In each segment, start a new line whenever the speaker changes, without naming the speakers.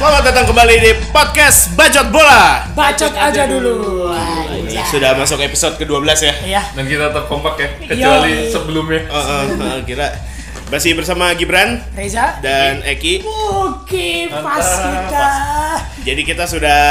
Selamat datang kembali di podcast Bacot Bola.
Bacot aja dulu. Aja.
Sudah masuk episode ke-12 ya.
Iya.
Dan kita tetap kompak ya, kecuali
Yoi.
sebelumnya.
Eh, eh, eh, gila. Masih bersama Gibran
Reza.
dan Eki.
Oke, pas
Mantap.
kita.
Jadi kita sudah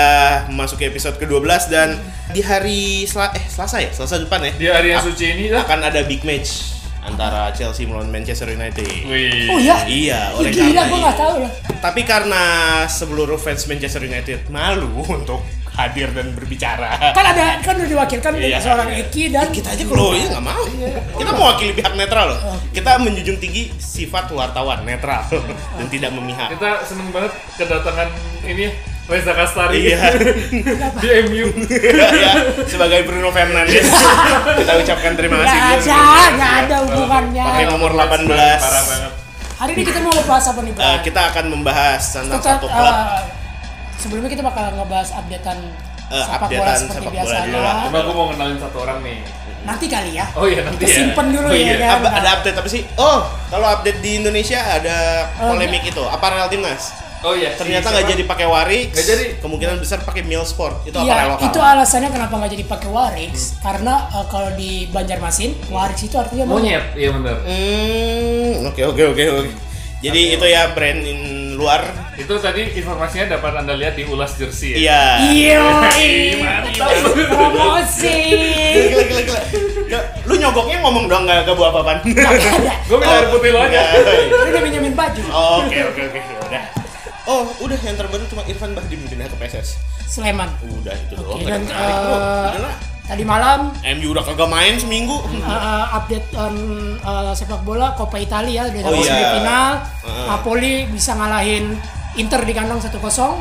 memasuki episode ke-12 dan di hari Sela- eh Selasa ya, Selasa depan ya.
Di hari yang
a-
suci ini ah. lah.
akan ada big match antara Chelsea melawan Manchester United.
Wih.
Oh iya.
Iya,
Ih,
oleh
Gila,
karena
gue nggak tahu loh.
Tapi karena seluruh fans Manchester United malu untuk hadir dan berbicara.
Kan ada kan udah diwakilkan
Iya,
dengan seorang
iya.
Eki dan
kita aja kalau ini nggak mau kita mewakili pihak netral loh kita menjunjung tinggi sifat wartawan netral dan tidak memihak
Kita seneng banget kedatangan ini ya, Reza Kastari
Iya.
di MU.
ya, sebagai Bruno Fernandes kita ucapkan terima
nggak
kasih
ada,
iya.
nggak ada hubungannya.
pakai nomor
Parah
18
banget.
Hari ini kita mau ngebahas apa nih, Pak?
Eh, kita akan membahas tentang
Tetap,
satu klub
eh, sebelumnya kita bakal ngebahas updatean
Eh,
sepak bola
updatean
seperti
sepak bola
biasanya.
dulu lah.
Cuma aku mau kenalin satu orang nih.
Nanti kali ya.
Oh iya, nanti
Kita
ya.
simpen dulu
Oh
ya.
iya.
kan?
Apa- ada update apa sih? Oh, kalau update di Indonesia ada polemik itu aparel timnas.
Oh iya.
Ternyata nggak jadi pakai warik.
Nggak jadi.
Kemungkinan besar pakai meal sport. Itu Hmm.
Iya,
aparel lokal.
itu alasannya kenapa nggak jadi pakai Warix karena eh, kalau di Banjarmasin Warix itu artinya
monyet, iya bener.
Hmm, oke oke oke oke. Jadi itu ya brand in luar.
Itu tadi informasinya dapat anda lihat di ulas jersey ya.
Iya.
Iya,
Mari,
promosi. Iya.
Gila gila gila. Gak, lu nyogoknya ngomong doang nggak gak buah apa-apaan.
Ada.
Gue minta air putih lo aja.
Lu udah minjemin baju.
Oke oke oke
ya
udah. Oh, udah yang terbaru cuma Irfan Bahdim pindah ke PSS.
Sleman.
Udah itu doang.
Oke,
Gak ada
dan,
menarik, bro.
eh,
Udah lah.
Tadi malam
MU udah kagak main seminggu.
eh, eh, update on eh, sepak bola Coppa Italia udah
Oh,
sampai
iya.
semifinal.
Heeh.
Napoli bisa ngalahin Inter di kandang 1-0.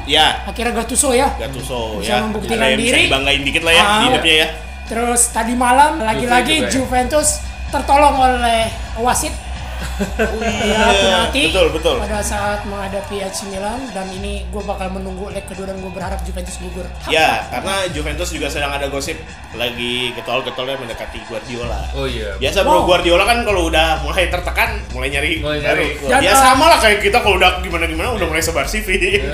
Ya,
Akhirnya Gattuso ya.
Gattuso
Bisa
ya.
membuktikan
Ada yang bisa
diri.
dibanggain dikit lah ya
Ah.
di hidupnya ya.
Terus tadi malam lagi-lagi
juga ya.
Juventus tertolong oleh wasit ya penalti
betul betul.
pada saat menghadapi AC Milan dan ini gue bakal menunggu leg kedua dan gue berharap Juventus gugur.
Ya, karena Juventus juga sedang ada gosip lagi getol-getolnya mendekati Guardiola.
Oh iya.
Biasa bro
Wow.
Guardiola kan kalau udah mulai tertekan mulai nyari
Mulai nyari.
baru.
Dan,
ya
uh,
sama lah kayak kita kalau udah gimana gimana udah mulai sebar CV.
Iya.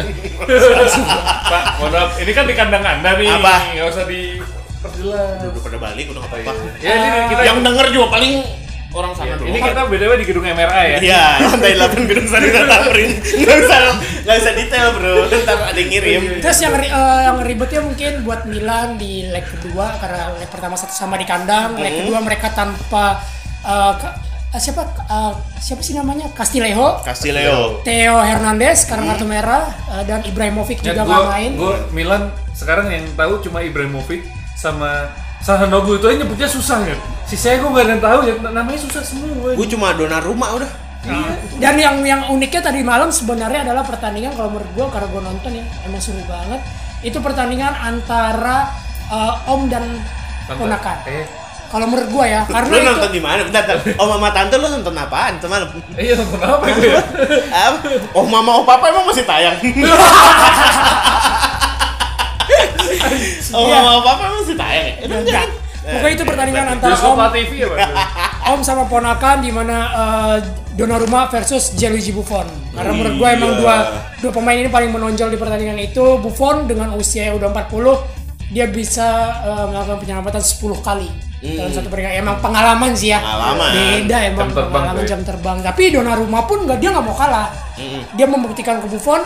Pak, mohon maaf, ini kan di kandang anda nih.
Apa?
Nggak usah di perjelas.
udah pada balik udah apa
Oh,
apa.
iya. Ya ini kita
Yang denger juga paling orang sana
ini kita btw di gedung MRA ya.
Iya, lantai 8 gedung Sarita Tamrin. Enggak usah enggak usah detail, Bro. Ntar ada yang ngirim.
Iya,
Terus yang ri- eh, yang ribetnya mungkin buat Milan di leg kedua karena leg pertama satu sama di kandang, leg kedua mereka tanpa eh, ka- eh, siapa eh, siapa sih namanya Castillejo,
Kasih Leo.
Theo Hernandez karena kartu merah eh, dan Ibrahimovic
Ya,
juga
gua,
nggak main.
gua Milan sekarang yang tahu cuma Ibrahimovic sama Sahanogu itu aja nyebutnya susah ya. Sisanya gua gak ada yang tahu ya namanya susah semua. ya. Iya.
Gue cuma donor rumah udah.
Dan yang yang uniknya tadi malam sebenarnya adalah pertandingan kalau menurut gua karena gua nonton ya emang seru banget. Itu pertandingan antara eh, om dan
Tante,
ponakan.
Eh,
Kalau menurut gua ya karena
Lu
itu
nonton di mana? Bentar, bentar. Oh, mama tante lu nonton apaan semalam?
eh iya nonton apa itu ya?
Apa? Oh, mama oh papa emang masih tayang. oh,
Iya.
mama oh papa emang masih tayang. ya? Itu
Enggak.
kan?
Pokoknya itu pertandingan antara
Bioskop
om,
TV ya pak?
om sama ponakan di mana eh, Donnarumma versus Gianluigi Buffon. Karena menurut gua emang
Iya.
dua dua pemain ini paling menonjol di pertandingan itu. Buffon dengan usia yang udah 40 dia bisa eh, melakukan penyelamatan 10 kali dalam satu pertandingan. Emang pengalaman sih ya.
Hmm. Pengalaman.
Beda emang
Jam terbang
pengalaman
tuh ya.
jam terbang. Tapi Donnarumma pun nggak dia nggak mau kalah.
Hmm.
Dia membuktikan ke Buffon,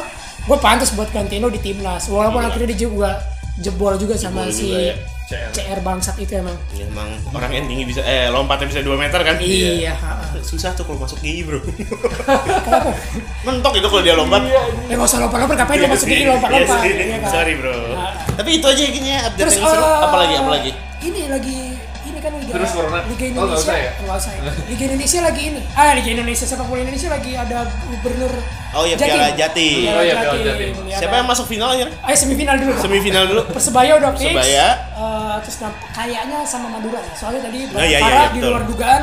gue pantas buat Gantino di timnas. Walaupun akhirnya dia juga jebol juga sama
Iya. Jebol
si
juga ya.
CR.
CR bangsat itu emang.
Ya, emang orang yang tinggi bisa eh lompatnya bisa 2 meter kan?
Iya. ha, ha.
Susah tuh kalau masuk gigi, Bro. Mentok itu kalau dia lompat.
Ya nggak usah lompat-lompat, ngapain lo masuk
Iya sih.
ini lompat-lompat?
Iya sih.
Iya kan?
Sorry, Bro. Tapi itu aja kayaknya update
Terus
yang seru.
eh,
Apalagi apalagi?
Ini lagi ini kan Liga,
Terus Corona?
Liga
Oh, nggak
Indonesia.
usah ya?
Nggak usah ya? Liga Indonesia lagi ini. Ah, Liga Indonesia sepak bola Indonesia lagi ada gubernur
Oh iya,
Jatim.
Piala Jati.
Oh iya, Piala Jatim.
Lagi
Siapa
ada-
yang masuk final aja?
Ayo semifinal dulu.
Semifinal dulu.
Persebaya udah fix.
Persebaya.
Eh, terus nam- kayaknya sama Madura ya. Soalnya tadi
Oh, iya, iya,
Bayangkara
iya,
di
betul.
luar dugaan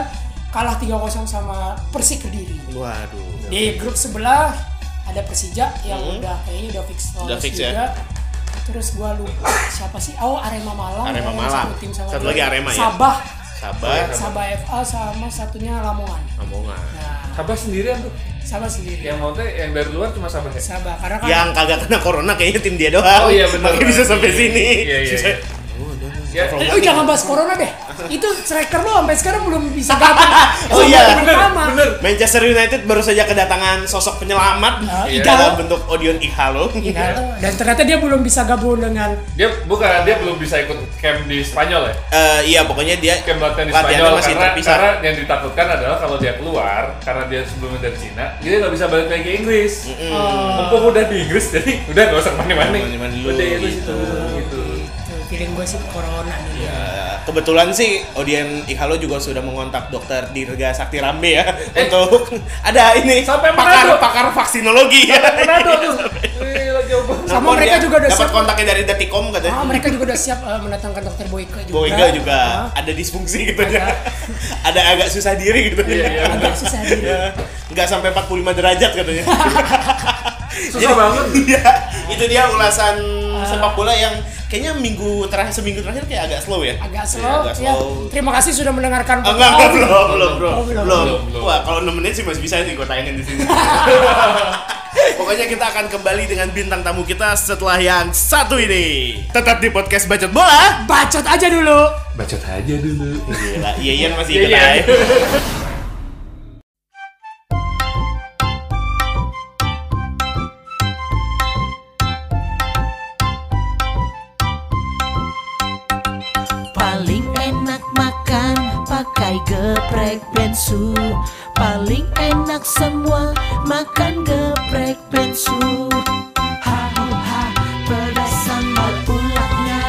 kalah 3-0 sama Persik Kediri.
Waduh.
Di grup sebelah ada Persija yang udah kayaknya udah fix lolos
Hmm. Udah fix ya.
juga. Terus gua lupa siapa sih? Oh, Arema Malang.
Arema
yang
Malang.
Satu, tim sama
Satu
dia.
lagi Arema ya?
Sabah.
Sabar.
Sabah FA sama satunya Lamongan.
Omongan.
Nah,
Kabar sendirian tuh.
Sabah sendiri.
Yang mau teh yang dari luar cuma Sabah ya.
Sabah karena kan
Yang kagak kena corona kayaknya tim dia doang.
Oh, iya, benar.
Makanya bisa sampai
Iya,
sini.
iya, iya,
Sisa-
iya.
Oh, udah, udah.
Ya,
From
Eh, lu
one
jangan
to-
bahas corona deh. Itu striker lo sampai sekarang belum bisa datang.
Oh, iya.
bener,
bener.
Manchester United baru saja kedatangan sosok penyelamat
Nah,
di
iya.
dalam bentuk Odion Ihalo.
Iya. Dan ternyata dia belum bisa gabung dengan
Dia bukan dia belum bisa ikut camp di Spanyol ya.
Eh, iya, pokoknya dia
Camp latihan di
latihannya
Spanyol
masih
karena,
terpisah.
karena yang ditakutkan adalah kalau dia keluar karena dia sebelumnya dari Cina, dia nggak bisa balik lagi ke Inggris.
Hmm.
eh,
Mumpung udah di Inggris jadi udah nggak usah kemana-mana.
Nggak kemana-mana dulu,
Udah itu
gitu.
situ gitu.
Tuh, feeling gue sih corona nih.
Ya, kebetulan sih Odion Ihalo juga sudah mengontak dokter Dirga Sakti Rambe ya
Eh.
untuk ada ini
Sampai
pakar
Manado.
pakar vaksinologi ya.
Manado Eh, tuh. Wih, lagi apa?
Sama
Nelpon
mereka juga udah
dapat
siap.
kontaknya dari Detikom katanya.
Ah, mereka juga udah siap eh, mendatangkan dokter Boyka juga.
Boyga juga
Ah,
ada disfungsi gitu ya. ada agak susah diri gitu
Iya, iya.
ya.
agak susah diri.
Ya, Nggak sampai 45 derajat katanya.
Susah banget.
Iya, itu dia ulasan sepak bola yang kayaknya minggu terakhir seminggu terakhir kayak agak slow ya.
Agak
Iya,
slow.
agak
Ya,
slow.
terima kasih sudah mendengarkan.
Oh, enggak, enggak, belum, belum, bro.
Oh, belum.
belum,
Belum, belum.
Wah, kalau nemenin sih masih bisa sih gue tayangin di sini. Pokoknya kita akan kembali dengan bintang tamu kita setelah yang satu ini. Tetap di podcast Bacot Bola.
Bacot aja dulu.
Bacot aja dulu.
Gila, iya iya masih
Iya,
ikut
iya.
aja.
Paling enak makan pakai geprek bensu Paling enak semua makan geprek bensu Ha hu, ha pedas sambal ulatnya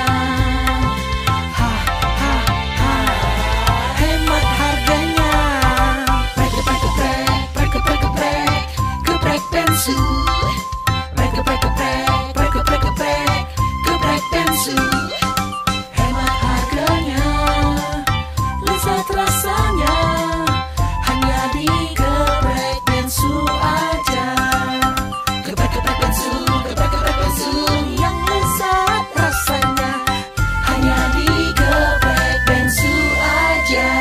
Ha ha ha hemat harganya Prek geprek geprek prek geprek geprek geprek bensu Prek geprek geprek prek geprek geprek geprek bensu Hemat harganya, lezat rasanya, hanya di geprek bensu aja. Geprek geprek bensu, geprek geprek bensu yang lezat rasanya, hanya di geprek bensu aja.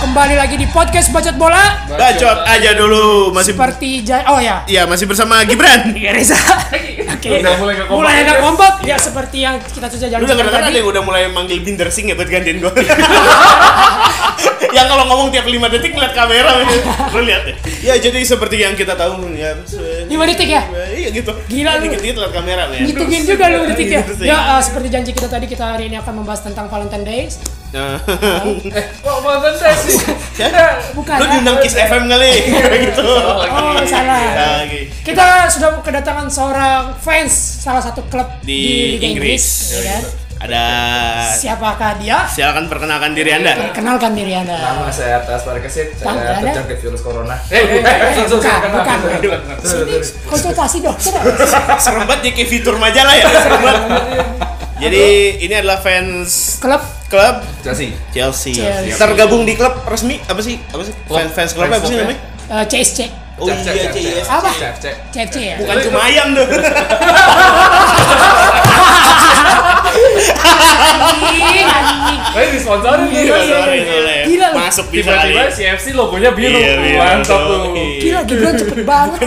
Kembali lagi di podcast Bacot Bola.
Bacot aja dulu, masih
Seperti ja- oh ya.
Iya, masih bersama Gibran.
Iya, Reza. Oke.
Udah mulai nggak kompak.
Mulai nggak kompak. Ya seperti yang kita sudah
Lu udah
janjikan
kadang ada
tadi.
yang udah mulai manggil Binder Singh ya buat gantiin gue. yang kalau ngomong tiap 5 detik ngeliat kamera lu lihat deh. Ya jadi seperti yang kita tahu ya. se-
Lima detik ya?
Iya gitu.
Gila, lu.
Dikit-dikit lihat kamera men.
Ngitungin juga lu detik ya.
Gitu sih.
Ya eh, seperti janji kita tadi kita hari ini akan membahas tentang Valentine Days.
Nah.
Kok mau tes sih? Nah.
Bukan.
Lu
ya?
diundang Kiss FM kali gitu.
Oh, salah.
Nah, lagi.
Kita sudah kedatangan seorang fans salah satu klub
Di
di, Liga
Inggris.
ya kan?
Ada
Siapakah dia?
silakan perkenalkan diri Anda.
Perkenalkan diri Anda.
Nama saya Atas Parikesit,
Tahu, ada.
saya terjangkit virus corona.
Eh, eh, eh, langsung
bukan,
silakan.
bukan.
Sorry, sorry.
Konsultasi dokter.
Serem banget dia kayak fitur majalah ya. serem banget. Jadi ini adalah fans
Klub
klub
Jelasin.
Chelsea.
Chelsea.
Tergabung di klub resmi apa sih? Apa sih? Fans fans klub apa sih
Fans ya.
namanya?
eh, CSC.
Oh
Cek, cek,
iya,
cek,
iya.
cek.
Apa?
Cek, cek.
CFC ya?
Iya.
Bukan cuma ayam tuh.
Anjing, anjing.
Eh, disponsorin nih.
Iya,
Mas.
sorry, boleh.
Gila lu.
Masuk di
Tiba-tiba
Bali.
si FC logonya biru.
Iya, biru.
Mantap tuh.
Iya.
Gila, Gibran cepet banget.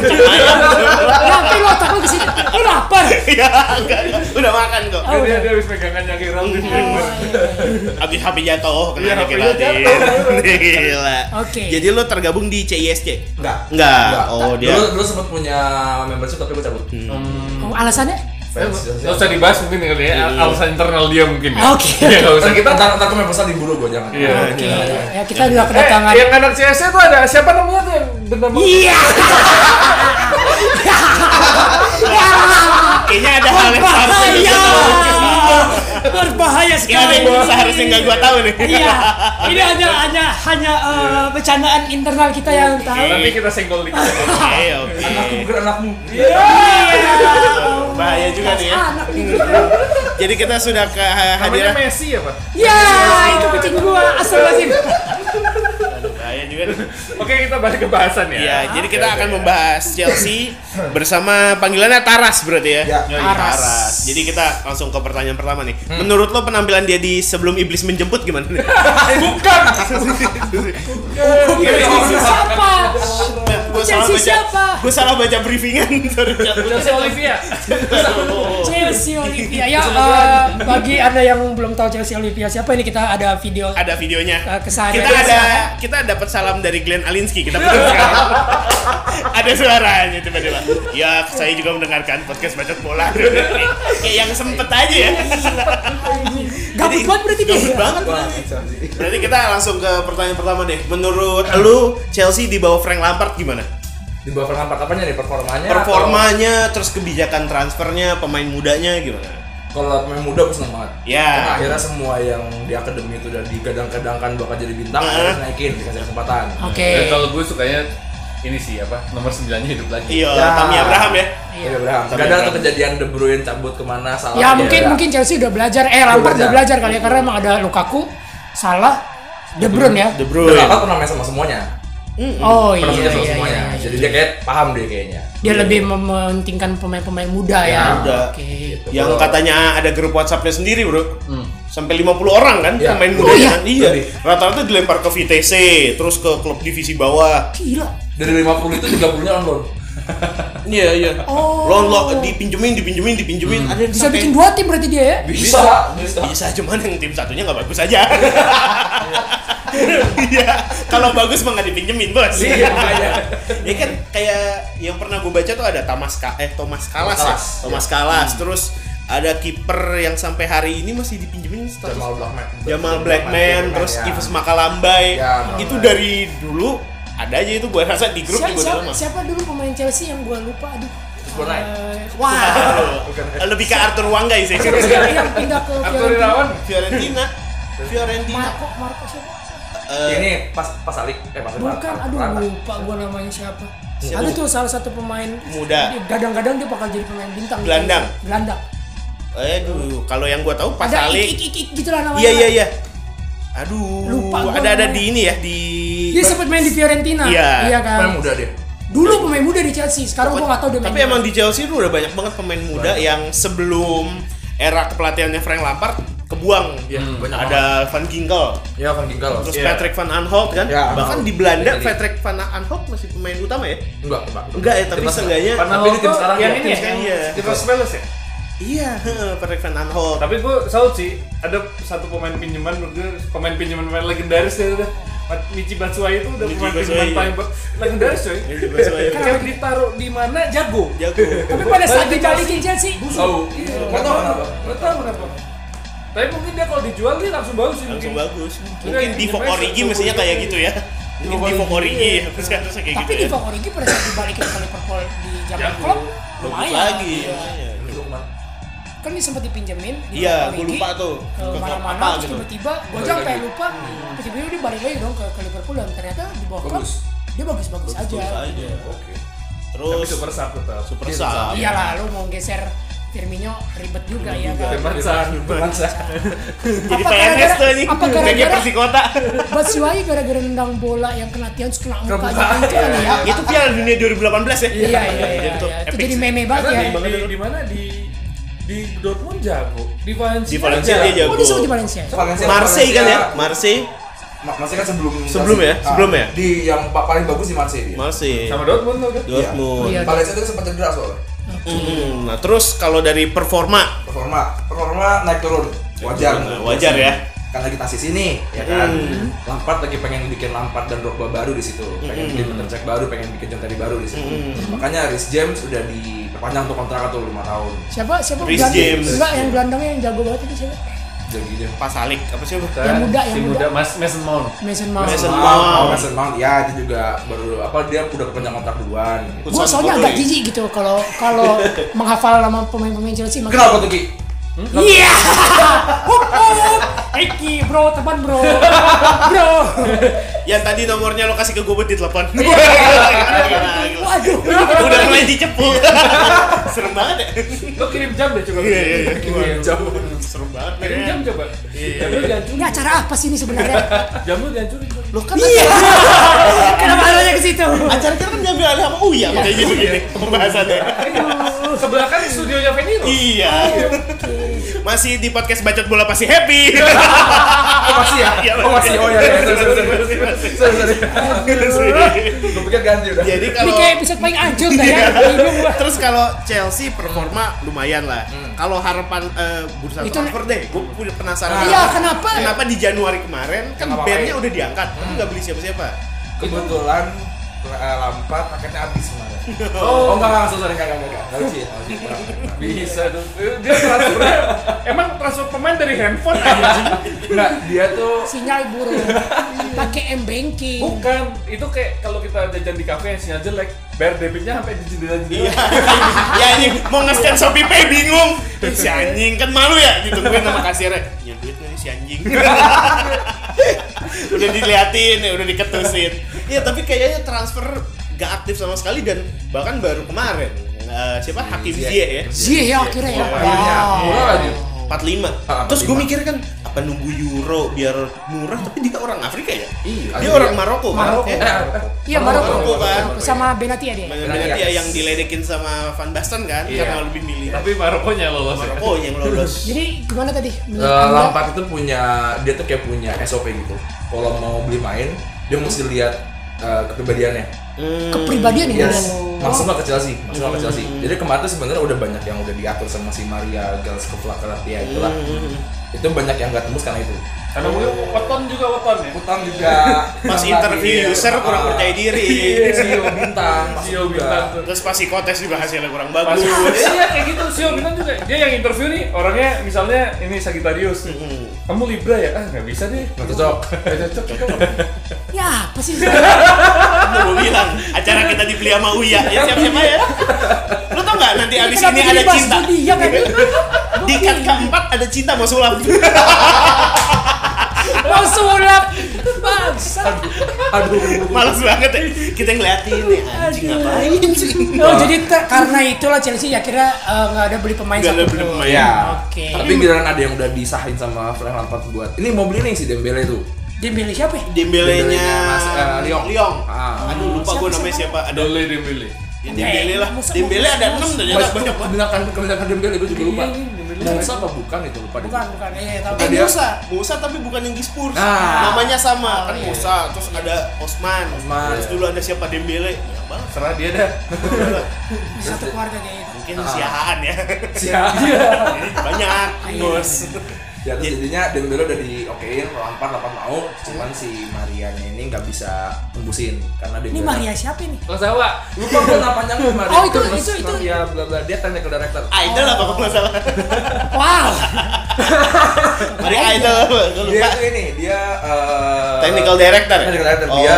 Nanti lo otak lo kesini. Lo lapar.
Iya, enggak. enggak. Udah makan kok.
Oh,
Dia
udah. Iya.
dia habis pegangan yang kira
Habis HP jatuh oh,
Iya,
kena
HP
dikit hati. Gila.
Oke.
Jadi lo tergabung di CISC?
Enggak.
Enggak. Oh, dia. Hmm.
Dulu, dulu sempat punya membership tapi gue cabut.
Oh, Alasannya?
Fans.
Gak usah dibahas mungkin kali ya, alasan internal dia mungkin ya.
Oke.
Iya, nggak usah
Ntar
kita.
kita ntar ntar membership diburu gue jangan.
Iya.
Oke. Ya, kita juga
Eh,
kedatangan.
yang anak CSC tuh ada siapa namanya tuh yang bernama?
Iya.
Kayaknya ada hal yang seharusnya
Iya,
nggak
Berbahaya.
gua
Berbahaya
tahu. Iya, ada
sekali.
yang seharusnya nggak gua tahu nih.
Iya, ini ada ada hanya eh, bercandaan internal kita yang tahu.
Iya, Nanti kita senggol dikit.
Ah.
Oke, Eh, oke.
Anakku bukan anakmu.
Iya.
Iya.
Bahaya juga nih ya.
Anak nih.
Jadi kita sudah
Namanya
kehadiran
Messi ya, Pak?
Ya, itu kucing gua asal lazim.
bahaya juga juga nih.
Oke kita balik ke bahasan ya.
Iya, jadi kita akan membahas Chelsea bersama panggilannya Taras berarti ya.
Ya.
Yoi,
Taras.
Taras. Jadi kita langsung ke pertanyaan pertama nih. Menurut lo penampilan dia di sebelum iblis menjemput gimana nih?
Oh,
Bukan.
Chelsea siapa?
gue salah baca.
Chelsea siapa?
Gue salah baca briefingan. Sorry, Chan.
Chelsea Olivia.
Chelsea Olivia ya eh, bagi anda yang belum tahu Chelsea Olivia siapa ini kita ada video
ada videonya.
Eh, kesana.
Kita ada kita dapat salam dari Glenn Alinsky. Kita putar sekarang. ada suaranya tiba-tiba. Ya, saya juga mendengarkan podcast bacot bola. Kayak yang sempet aja ya.
gabut banget berarti dia
Gabut banget. Berarti kita langsung ke pertanyaan pertama deh. Menurut lu Chelsea di bawah Frank Lampard gimana?
Di bawah Frank Lampard apanya nih
Ya,
performanya?
Performanya, terus kebijakan transfernya, pemain mudanya gimana?
atau- Kalau pemain muda aku seneng banget.
Ya.
Karena akhirnya semua yang di akademi itu udah digadang-gadangkan bakal jadi bintang,
Heeh.
harus naikin dikasih kesempatan.
oke
Iya,
Dan kalau gue sukanya ini sih apa nomor 9 nya hidup lagi.
Iya,
Ya.
Tammy Abraham ya.
Iya, Abraham.
Tapi
Gak ada
Abraham.
tuh kejadian De Bruyne cabut kemana salah.
Iya,
ya mungkin mungkin Chelsea udah belajar eh Lampard udah belajar
belajar.
kali ya karena emang ada Lukaku salah De Bruyne ya
De
Bro,
Bruyne.
pernah main sama semuanya.
oh iya
Pernah main sama
ya.
iya,
semuanya.
iya, iya.
Jadi dia kayak paham deh kayaknya.
dia lebih mementingkan pemain-pemain muda ya,
Iya, muda.
oke
yang katanya ada grup WhatsApp-nya sendiri, Bro. Sampai 50 orang kan
Hmm. Iya.
pemain
Oh,
muda
iya.
kan? Iya.
Jadi.
Rata-rata dilempar ke Vitesse, terus ke klub divisi bawah.
gila
Dari 50 itu 30-nya on loan.
Iya, iya.
Oh.
Loan lo dipinjemin, dipinjemin, dipinjemin. Ada yang
bisa
sampai-
bikin dua tim berarti dia ya
Bisa, Hmm. bisa.
bisa cuman yang tim satunya nggak bagus aja. Iya, kalau bagus mah nggak dipinjemin bos.
Iya, makanya.
ya kan kayak yang pernah gue baca tuh ada Thomas Ka eh Thomas Kalas, ya?
Kalas,
Thomas Kalas.
Hmm.
Terus ada kiper yang sampai hari ini masih dipinjemin status
Jamal Blackman.
Jamal Blackman, terus
ya.
Kifus Makalambai.
Ya, Makalambai.
itu dari dulu ada aja itu gue rasa di grup
siapa,
gue
siapa,
lama.
siapa dulu pemain Chelsea yang gua lupa aduh
Bonai.
Eh,
Wah, lebih ke Arthur Wanggai sih.
yang pindah ke
Arthur Irawan.
Fiorentina, Fiorentina.
Marco Marco siapa
Eh,
Ini pas pas alik eh pas
Bukan, aduh
Rata.
lupa gua namanya siapa.
Siapa?
Iya.
Ada tuh salah satu pemain
Muda.
dia- Gadang-gadang dia bakal jadi pemain bintang.
Gelandang.
Gelandang.
Aduh, Eh, kalau yang gua tahu pas
Ada ik,
Ali.
ik, ik, ik gitu lah namanya.
Iya iya iya. Aduh,
Lupa gua
ada ada
namanya. Iya,
di ini ya di
Dia sempat main di Fiorentina.
Iya.
kan.
Pemain muda dia.
Dulu pemain muda di Chelsea. Sekarang gua nggak tahu dia main.
Tapi emang di Chelsea tuh udah banyak banget pemain muda yang sebelum era kepelatihannya Frank Lampard kebuang.
Iya, banyak
Hmm, Ada Van Ginkel,
Ya Van Ginkel.
terus
Iya.
Patrick van Aanholt kan.
Ya.
Iya,
Bahkan
Aanholt.
di Belanda
Jadi-
Patrick van Aanholt masih pemain utama ya?
Enggak, enggak.
Enggak ya, tapi
Timnas
seenggaknya
enggak. Tapi di tim sekarang
yang
ya,
ini
tim
ya,
sekarang,
yang
iya.
di Crystal Palace ya.
Iya, heeh, Patrick van Aanholt.
Tapi gue salut sih, ada satu pemain pinjaman menurut gue, pemain pinjaman pemain legendaris ya udah. Mat- Michi Batshuayi itu udah
Michi
pemain pinjaman
Batshuayi. ya.
paling ba- legendaris coy.
Michi Batshuayi.
Yang ditaruh di mana jago.
Jago.
Tapi pada saat
Balik ke
dibalikin Chelsea,
Tahu. Enggak Oh. tahu kenapa.
Gak tau kenapa. Tapi mungkin dia kalau dijual dia langsung bagus sih
Langsung
Iya.
mungkin.
bagus. Mungkin di Vogue Origi mestinya kayak gitu ya. Mungkin di Vogue Origi ya, harusnya harusnya kayak
Iya. tapi
gitu.
di
ya.
Vogue Origi pada saat dibalikin ke Liverpool di zaman
Jago.
klub
Bagus
lumayan.
lagi.
Iya.
ya.
Kan dia sempat dipinjemin di
Iya,
Vogue
gue
Origi.
lupa tuh.
ke
Ke klub apa
mana-mana terus
gitu.
tiba-tiba gue aja
Balik lagi.
sampai lupa tiba-tiba dia balik lagi dong ke, ke Liverpool dan ternyata di bawah klub
Bagus.
dia bagus-bagus aja
Terus aja.
Oke.
Tapi
Terus
super sub tetap.
Oh, super sub.
iya lah lu mau geser Firmino ribet juga ya kan
Teman sah.
Bangsa.
Jadi PNS
Apa gara-gara-
tuh anjing.
apa gara-gara-
Kayak Persikota.
Batshuayi gara-gara nendang bola yang kena tiang terus kena muka
Kebuka.
gitu kan, itu kan ya
Itu Piala Dunia 2018 ya.
iya iya iya
tuh
iya. itu
iya. epic
jadi
sih.
meme
Karena di,
banget ya
di, di mana di di Dortmund jago, di Valencia,
Di Valencia dia
oh
jago.
dia sama di Valencia
Marseille kan ya? Marseille.
Marseille kan sebelum
Sebelum ya?
Ah,
Sebelum ya?
Di yang pa- paling bagus di Marseille dia.
Marseille.
sama Dortmund tuh kan.
Dortmund.
Iya.
Valencia itu sempat cedera soalnya.
Mm, Nah, terus kalau dari performa
Performa, performa naik turun. Wajar.
Nah, wajar ya.
kan lagi tasis ini ya kan Lampard lagi pengen bikin Lampard dan Drogba baru di situ pengen beli Peter Cech baru pengen bikin John Terry baru di situ makanya Rhys James udah diperpanjang untuk kontrak tuh lima tahun
siapa siapa
Rhys
gelandang?
James.
enggak yang gelandangnya yang jago banget itu siapa
jadinya
Pas Alik apa sih? Bu?
Yang muda, yang
si
muda.
muda, Mas Mason Mount.
Mason Mount
Mason
Mount,
Mount.
oh, Mason Mount, ya itu juga baru apa dia udah perpanjang kontrak duluan gitu.
gue soalnya agak jijik gitu kalau kalau menghafal nama pemain-pemain Chelsea makanya-
kenapa tuh Ki?
Iya. Hup, hup. Eki bro teman bro bro.
Yang Ya, tadi nomornya lo kasih ke gue buat di telepon.
Iya. Waduh.
iya. Udah mulai dicepu. Serem banget ya.
Lo kirim jam deh coba.
Iya, iya, iya.
Kirim jam.
Serem banget. ya.
Kirim
men.
jam coba. Jam lu
Ini
dihancurin.
acara apa sih ini sebenarnya?
Jam lu dihancurin. coba.
Loh kan
Iya. Kenapa arahnya ke situ?
acara kita kan diambil alih sama Uya makanya gitu gini pembahasannya.
Sebelah kan studionya Veniro.
Iya. Masih di podcast bacot bola pasti happy.
Oh, masih ya?
Iya,
Oh, masih. Oh, ya. ya. Sorry, sorry, sorry.
Masih, masih.
Sorry, sorry. Gua pikir ganti udah.
Jadi
Ini
kalau
kayak episode paling anjir dah
Iya.
ya. Bingung
Iya.
gua.
Terus kalau Chelsea performa lumayan lah. Kalau harapan eh, bursa
Itu-
transfer deh, gue punya penasaran.
Iya, kenapa?
Kenapa Hmm. di Januari kemarin kan
Kenapa
bandnya
main?
udah diangkat, tapi nggak beli siapa-siapa?
kebetulan eh, Lampard paketnya habis kemarin. Oh, enggak enggak sorry sorry, enggak enggak enggak. Enggak lucu ya. Enggak Iya, lucu, enggak lucu.
Bisa tuh. Eh, Dia transfernya emang transfer pemain dari handphone aja.
Enggak, dia tuh
Sinyal buruk. Iya. Pakai M banking.
Bukan, itu kayak kalau kita jajan di kafe yang sinyal jelek, bayar debitnya sampai di jendela-jendela.
ya anjing, mau nge-scan Shopee Pay bingung. Ih, Si anjing kan malu ya ditungguin sama kasirnya. Ya duit nggak nih si anjing. udah diliatin, ya, udah diketusin. Iya, tapi kayaknya transfer gak aktif sama sekali dan bahkan baru kemarin. Eh, siapa Hakim
Ziyech.
Ziyech ya?
Ziyech ya akhirnya ya.
akhirnya murah lagi.
45.
Iya. Ah,
iya. Terus gue
45.
mikir kan apa nunggu euro biar murah tapi dia orang Afrika ya?
Iya.
Dia orang Maroko kan?
Maroko.
Eh,
Eh, eh,
Iya baru Iya.
Maroko,
Maroko kan?
sama Benatia dia.
Benar-benar dia yang diledekin sama Van Basten kan
Iya.
karena lebih milih
Tapi Marokonya lolos ya.
Maroko yang lolos.
Jadi gimana tadi?
Eh,
Menurut Anda?
Lampard itu punya dia tuh kayak punya SOP gitu. Kalau mau beli main, dia mesti lihat eh, kepribadiannya.
Hmm.
kepribadian ya.
Yes.
Oh.
Langsung lah ke Chelsea, langsung lah ke Chelsea.
Hmm.
Jadi kemarin tuh sebenarnya udah banyak yang udah diatur sama si Maria Galskova Karatia itulah.
Hmm,
Itu banyak yang gak tembus karena itu.
Karena mungkin weton juga weton ya.
Utang juga
Pas interview user kurang percaya diri.
CEO Iya, bintang, pas
Sio
juga.
Bintang tuh.
Terus pas psikotes juga hasilnya kurang
Pas
bagus.
iya kayak gitu, Sio Bintang juga. Dia yang interview nih, orangnya misalnya ini Sagittarius.
Hmm.
Kamu Libra ya? Ah, nggak bisa deh.
Nggak cocok.
Nggak cocok, cocok.
Ya, apa sih?
Itu gue Kan bilang acara kita dibeli sama Uya ya siapa-siapa ya. Lu tau nggak nanti abis ini ada cinta
Iya kan?
di cut keempat ada cinta mau sulap.
Mau sulap. Bangsa.
Aduh.
Males banget ya. Kita ngeliatin nih anjing
Aduh.
ngapain sih.
Oh, jadi te- karena itulah Chelsea ya kira eh, nggak ada beli pemain
Gak ada
satu Ya.
beli
pun.
pemain.
Iya.
Oke.
Tapi giliran ada yang udah disahin sama Frank Lampard buat. Ini mau beli nih si Dembele tuh.
Dia milih siapa ya?
Dembelenya
Dembelenya Mas, eh, Lyon. Ah.
Aduh lupa gue namanya siapa. Ada
Dole Dembele.
ya, Dembele lah.
Masa-
Dembele ada 6 dan
Mas,
Iya. banyak banget.
kebanyakan kebanyakan Dembele gue juga lupa.
Iya, iya, Dembele.
Musa apa bukan itu lupa. deh.
Bukan, bukan. Eh, tahu.
Eh
Dia-
Musa, Musa tapi bukan yang di Spurs.
Ah.
Namanya sama
Oh,
kan
iya.
Musa, terus ada Osman.
Osman.
Terus dulu ada siapa Dembele? Ya banget.
Serah dia dah.
Satu keluarga kayak gitu.
Mungkin siahaan ya.
Iya.
Siapa?
Jadi banyak. Bos.
Ya terus jadinya Dembele udah diokein, Lampard Lampard mau, cuman si Mariannya ini nggak bisa tembusin karena
Ini
Dembele.
Maria siapa ini?
Lasawa.
Lupa gue nama panjangnya Maria.
Oh, itu-
Mas
itu- itu.
Maria bla bla dia technical director.
Idol apa kalau nggak salah?
Wow.
Mari idol apa? Gua
Dia
lupa.
tuh ini dia eh,
Technical director.
Iya.
ya? Oh.
Technical director iya. dia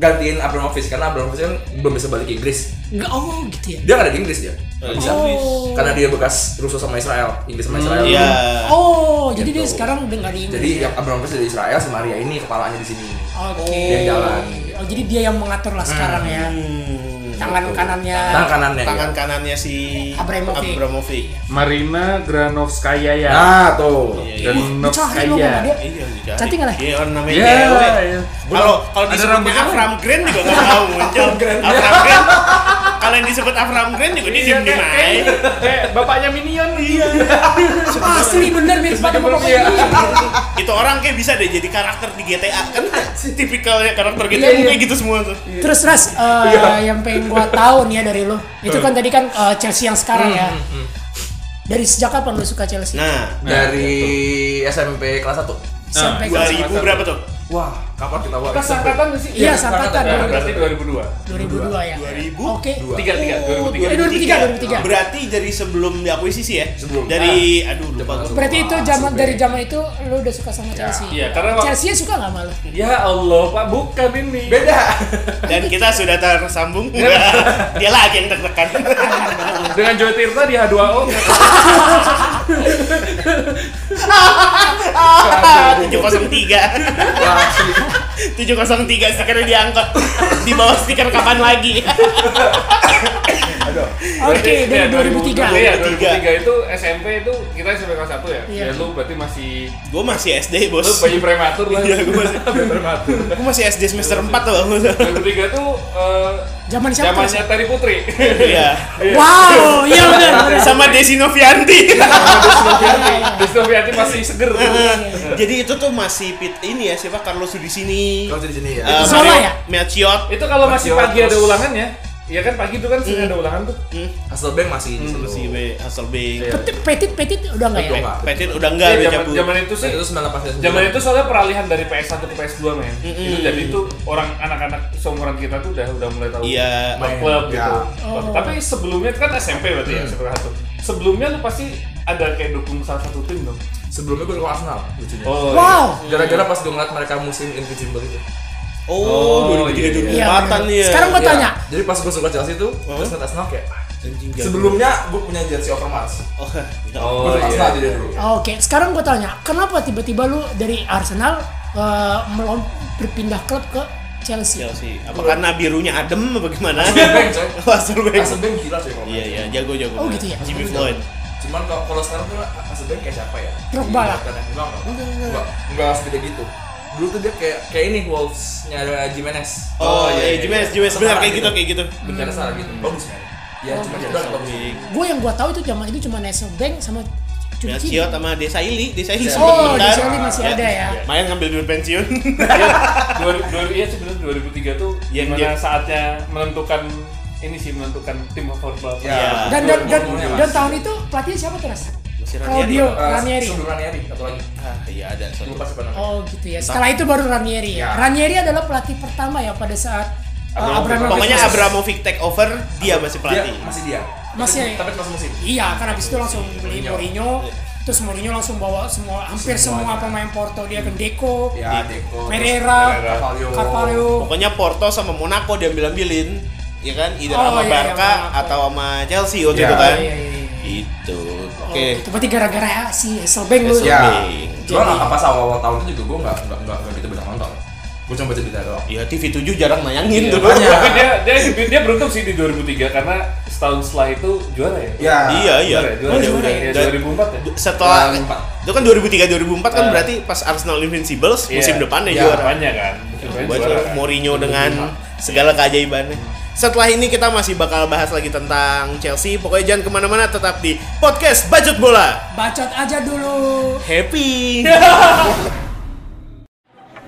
gantiin Abramovich karena Abramovich kan belum bisa balik ke Inggris.
Nggak oh gitu ya.
Dia nggak ada di Inggris dia. Nggak bisa.
Oh.
Karena dia bekas rusuh sama Israel, Inggris sama Israel.
Iya.
Oh, jadi dia
Gitu.
sekarang udah nggak di Inggris.
Jadi yang Abramovich dari Israel, si Maria ini kepalanya di sini.
Oke.
Dia jalan.
Oh, jadi dia yang mengatur lah sekarang ya.
Hmm.
Tangan
Gitu.
kanannya.
Tangan kanannya.
Tangan
ya.
kanannya si
Abramovich.
Abramovich.
Marina Granovskaya ya.
Nah, tuh.
Iya, iya.
Dicari lu sama dia.
Granovskaya.
Iya, dicari.
Cantik nggak lah?
Iya, orang namanya
Iya,
cewek.
iya.
Kalau kalau
Ada
disebutnya
rambutnya kan?
Avram Green juga nggak tahu muncul. Avram Green. Kalau yang disebut Avram Green juga dia
Iya,
diem diem
kayak-
aja.
kayak bapaknya Minion. Iya.
Asli bener mirip banget sama
Sebelum dia.
pokoknya.
Itu orang kayak bisa deh jadi karakter di GTA kan tipikalnya karakter
Iya,
GTA
iya.
kayak gitu semua tuh.
Terus Ras, eh, yang pengen gua tahu nih ya dari lo, itu kan tadi kan eh, Chelsea yang sekarang ya. Dari sejak kapan lo suka Chelsea?
Nah,
Dari SMP kelas 1.
Sampai
Nah,
2000
ke
berapa tuh?
Wah, kapan kita wah?
Kita seangkatan nggak sih?
Iya, seangkatan.
Nah, berarti 2002.
2002 ya.
2000?
Oke.
Dua.
Tiga, tiga, 2003.
Eh, 2003, 2003.
Berarti dari sebelum diakuisisi ya?
Sebelum.
Dari
Ah.
aduh lupa
Zaman
gua.
Berarti itu zaman
Super.
dari zaman itu lo udah suka sama Chelsea.
Iya, karena waktu-
Chelsea suka nggak malu?
Ya Allah, Pak, bukan ini.
Beda.
Dan kita sudah tersambung. Dia lagi yang tertekan.
Dengan Joy Tirta di H2O.
Ah, 703. 703 stikernya diangkut. Di bawah stiker kapan lagi?
Aduh.
Oke, dari 2003.
Iya,
2003.
2003 itu SMP itu kita SMP kelas 1 ya.
Iya.
Ya lu berarti masih
Gue masih SD bos.
lu bayi prematur lah.
Iya, gua masih-
bayi prematur.
Gue masih SD semester 4 tuh.
2003 tuh eh,
Zaman siapa?
zamannya Tari Putri.
Iya.
Wow, iya benar. benar.
Sama Desi Novianti.
Distopiati masih seger.
Jadi itu tuh masih pit ini ya siapa Carlos di sini.
Kalau di sini ya.
Eh,
Zola
Mario-
ya?
Melchior.
Itu kalau masih
Masih
pagi
terus.
ada ulangannya. Iya kan pagi itu kan sering ada ulangan tuh.
Hustle Bank masih di situ.
Hmm, Si W Hasselbeck.
Petit, petit, petit udah nggak ya?
Udah nggak.
Petit Iya. udah enggak
Iya,
udah
zaman,
cabut. Iya,
zaman itu
Terus
sih
itu 98
Zaman itu soalnya peralihan dari PS1 ke PS2 men. Itu jadi itu orang anak-anak seumuran kita tuh udah udah mulai tahu
Iya.
main klub
Iya.
gitu.
Oh.
Tapi sebelumnya itu kan SMP berarti
Mm.
ya SMP satu. Sebelumnya lu pasti ada kayak dukung salah satu tim dong.
sebelumnya gue ke Arsenal lucunya.
iya.
Oh.
Wow.
Gara-gara pas gue ngeliat mereka musim Invincible itu.
Oh,
Oh,
2003
Iya,
empatan
benar.
ya.
Sekarang gua
Iya.
tanya.
Jadi pas gue suka Chelsea tuh,
Oh.
terus ngeliat Arsenal kayak "Ah,
Anjing, jago.
Sebelumnya gue punya jersey Overmars.
Iya. Oh, iya,
Gue
Oh
suka Arsenal aja dulu.
Oke, sekarang gua tanya, kenapa tiba-tiba lu dari Arsenal eh, melom berpindah klub ke Chelsea?
Chelsea. Apa karena birunya adem apa gimana?
Hasselbeck, coy.
Hasselbeck.
Hustle Bank gila sih kalau
Iya iya, jago jago.
Oh, gitu ya?
Jimmy Floyd.
Cuman kalau kalau sekarang tuh Hustle Bank kayak siapa ya?
Drogba lah.
Enggak, enggak. kan? Enggak, enggak sepeda gitu. Dulu tuh dia kayak kayak ini Wolves-nya ada Jimenez.
Oh, iya, Jimenez, Jimenez. Benar, kayak gitu, kayak gitu.
Bener salah gitu. Bagus kan? Ya, cuma
Iya,
dia udah bagus.
Gue yang gua tahu itu zaman itu cuma National Bank sama Cuci.
Melchior sama Desailly, Desailly
Oh,
sebelum
di
bentar. Iya.
Chelsea masih ada ya.
Main ngambil duit pensiun.
iya. Dua, dua, iya sebenarnya 2003 tuh
Iya,
gimana
iya.
saatnya menentukan ini sih menentukan tim favorit lu apa.
Iya.
Dan dan dan,
Umurnya
dan
masih.
tahun itu pelatihnya siapa terus?
Si Ranieri.
Claudio
Eh,
Ranieri.
sebelum Ranieri, satu lagi.
Ah, iya ada. sorry.
Lupa siapa namanya.
Oh gitu ya. Setelah itu baru Ranieri ya. Ranieri adalah pelatih pertama ya pada saat uh, Abramovich.
Pokoknya Abramovich take over, dia masih
Dia
pelatih.
masih dia.
Masih-
tapi pas musim.
Iya, kan habis itu langsung beli
Mourinho.
Mourinho. Terus Mourinho langsung bawa semua hampir semua,
Semua.
pemain Porto dia ke Deco,
Ya, Deco.
Pereira,
terus Carvalho.
Carvalho.
Pokoknya Porto sama Monaco diambil-ambilin, ya kan? Either
Oh,
sama
iya, iya,
Barca
Monaco.
atau sama Chelsea waktu
Iya.
itu kan.
Iya, iya, iya.
Itu.
Oh,
Oke. Iya.
Itu berarti gara-gara ya, si Hasselbank lu.
Ya.
Jadi-
Cuman apa pas awal-awal tahun itu juga gue nggak nggak nggak nggak gitu banyak nonton. Gue cuma baca berita doang.
Ya TV7 jarang nayangin tuh.
makanya.
Iya. Tapi dia, dia dia beruntung sih di 2003 karena setahun setelah itu juara ya.
Iya.
Iya, iya.
Juara,
Oh,
juara,
juara,
ya,
ya.
2004 ya.
Setelah
Yang empat.
itu kan 2003 2004 kan
Eh.
berarti pas Arsenal Invincibles musim
Iya.
depannya
Iya.
juara.
Apanya kan? Apanya
buat
juara kan?
Mourinho dengan segala keajaibannya. Setelah ini kita masih bakal bahas lagi tentang Chelsea. Pokoknya jangan kemana-mana, tetap di podcast Bajot Bola.
Bacot aja dulu.
Happy.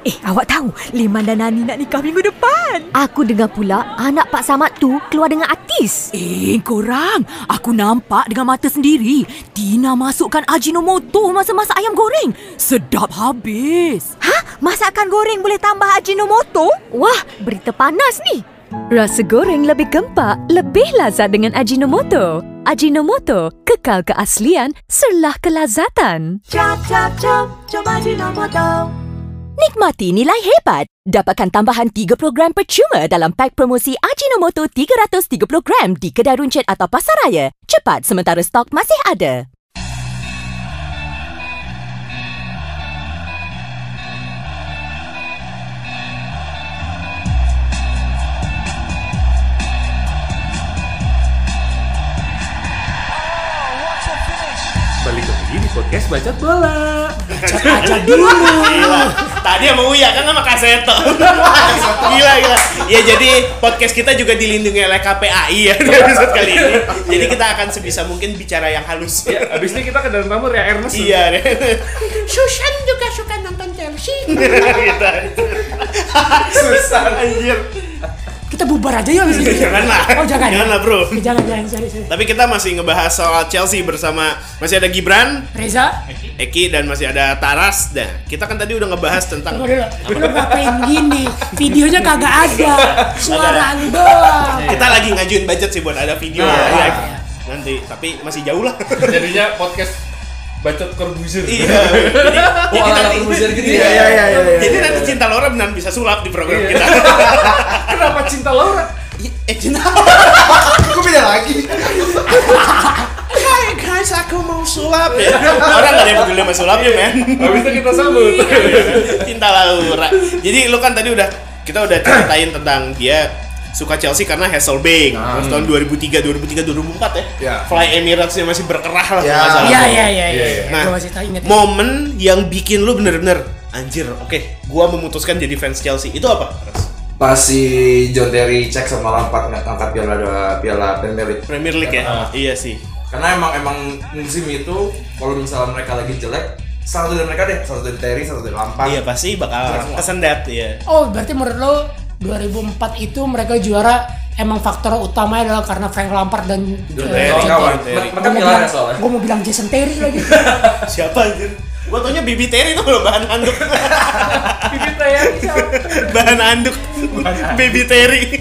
Eh, awak tahu Leman dan Nani nak nikah minggu depan.
Aku dengar pula anak Pak Samad tu keluar dengan artis.
Eh, korang. Aku nampak dengan mata sendiri. Tina masukkan Ajinomoto masa masak ayam goreng. Sedap habis.
Hah? Ha? Masakan goreng boleh tambah Ajinomoto? Wah, berita panas ni. Rasa goreng lebih gempak, lebih lazat dengan Ajinomoto. Ajinomoto, kekal keaslian, serlah kelazatan.
Cap cap cap cap Ajinomoto
Nikmati nilai hebat. Dapatkan tambahan 3 program percuma dalam pak promosi Ajinomoto 330 gram di kedai runcit atau pasaraya. Cepat sementara stok masih ada.
Balik lagi di podcast Bacot Bola.
aja dulu. Gila. Tadi sama Uya kan sama Kaseto. gila gila. Ya jadi podcast kita juga dilindungi oleh KPAI ya di episode kali ini. Jadi kita akan sebisa mungkin bicara yang halus.
Ya, abis ini kita ke dalam tamu Ria Ernest.
Iya deh.
Susan juga suka nonton Chelsea.
Kita
Susah.
anjir.
Kita bubar aja ya abis ini.
Iya, Janganlah.
Oh, jangan. ya?
Janganlah, Bro.
Eh, Jangan, jangan, sorry, sorry.
Tapi kita masih ngebahas soal Chelsea bersama masih ada Gibran,
Reza,
Eki dan masih ada Taras. Nah, kita kan tadi udah ngebahas tentang
tunggu dulu. Lu ngapain gini? Videonya kagak ada. Suara lu doang.
kita lagi ngajuin budget sih buat ada video
Nah,
live
iya.
nanti, tapi masih jauh lah.
Jadinya podcast Bacot Corbuzier.
Iya. Jadi,
Oh,
jadi
ala
nanti
Corbuzier gitu
Iya,
ya.
iya, iya,
iya, iya,
Jadi
iya,
nanti
iya.
cinta Laura benar bisa sulap di program
Iya.
kita.
Kenapa cinta Laura?
eh cinta.
Gue beda lagi.
Hai guys, aku mau sulap ya. Orang gak ada yang peduli sama sulapnya, men.
Abis itu kita sambut.
cinta Laura. Jadi lu kan tadi udah kita udah ceritain tentang dia suka Chelsea karena Hasselbeck. Terus tahun 2003, 2003, 2004 Hmm. ya.
Ya.
Fly Emirates yang masih berkerah lah
Ya.
kalau nggak salah.
Iya iya iya iya.
Iya,
Nah,
Gua masih tak ingat.
momen yang bikin lu bener-bener anjir, oke, gua memutuskan jadi fans Chelsea. Itu apa? Ras?
Pas si John Terry cek sama Lampard nggak angkat piala piala Premier League.
Premier League ya? Iya sih.
Karena emang emang musim itu kalau misalnya mereka lagi jelek, salah satu dari mereka deh, salah satu dari Terry, salah satu dari Lampard.
Iya pasti bakal kesendat ya.
Oh, berarti menurut lo 2004 itu mereka juara emang faktor utamanya adalah karena Frank Lampard dan eh,
John
John
Terry.
Terry,
Kawan,
John Terry.
mereka piala ya soalnya.
Gue mau bilang Jason Terry lagi.
Siapa anjir? Gua taunya Bibi Terry tuh loh bahan anduk.
Bibit tayang
bahan anduk. Baby Terry.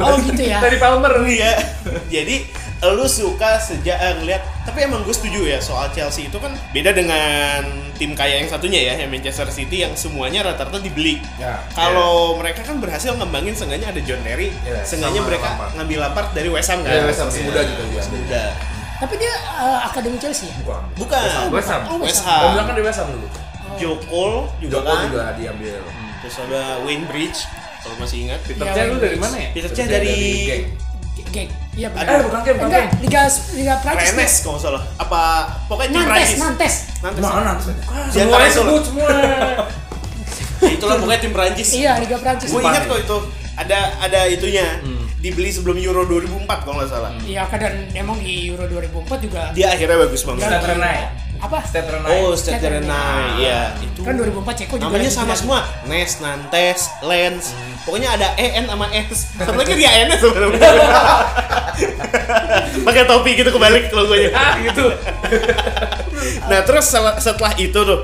oh gitu ya.
dari Palmer
Iya. Jadi lu suka sejak eh, ngeliat tapi emang gue setuju ya soal Chelsea itu kan beda dengan tim kaya yang satunya ya yang Manchester City yang semuanya rata-rata dibeli
Ya.
kalau mereka kan berhasil ngembangin seenggaknya ada John Terry
Ya,
seenggaknya
sama
mereka
Lampard.
ngambil Lampard dari West Ham kan
Iya, West Ham masih muda juga dia.
Muda.
Tapi dia eh, akademi Chelsea ya?
Bukan.
bukan
West Ham.
Oh,
West
West
Kamu
Ham
bilang kan di West Ham dulu.
Jokol juga
Joko
kan
juga diambil.
terus ada Wayne Bridge kalau masih ingat
Peter
Iya,
Cech lu
Wayne
dari mana ya?
Peter
Terus
Cech
dia
dari
geng.
Geng. Iya benar.
Ada- eh,
bukan Geng, bukan
Enggak, Liga Liga Prancis.
Rennes kalau nggak salah apa pokoknya tim
Nantes,
Prancis
Nantes.
Nantes
Mana?
Di antara
Semuanya
itu
sebut
lah.
semua
Ya, itulah pokoknya tim Prancis
Iya, Liga Prancis.
gue ingat kok itu ada ada itunya dibeli sebelum Euro 2004 kalau nggak salah
Iya, kadang emang di Euro 2004 juga
dia akhirnya bagus banget
Stade
Renai.
apa?
Stade Renai.
oh Stade Renai ya itu
Kan 2004 Ceko juga
namanya
lagi
sama
juara.
semua Nes Nantes Lens pokoknya ada EN sama S satu lagi dia EN sebenarnya pakai topi gitu kebalik kalau gue
gitu
nah terus sel- setelah itu tuh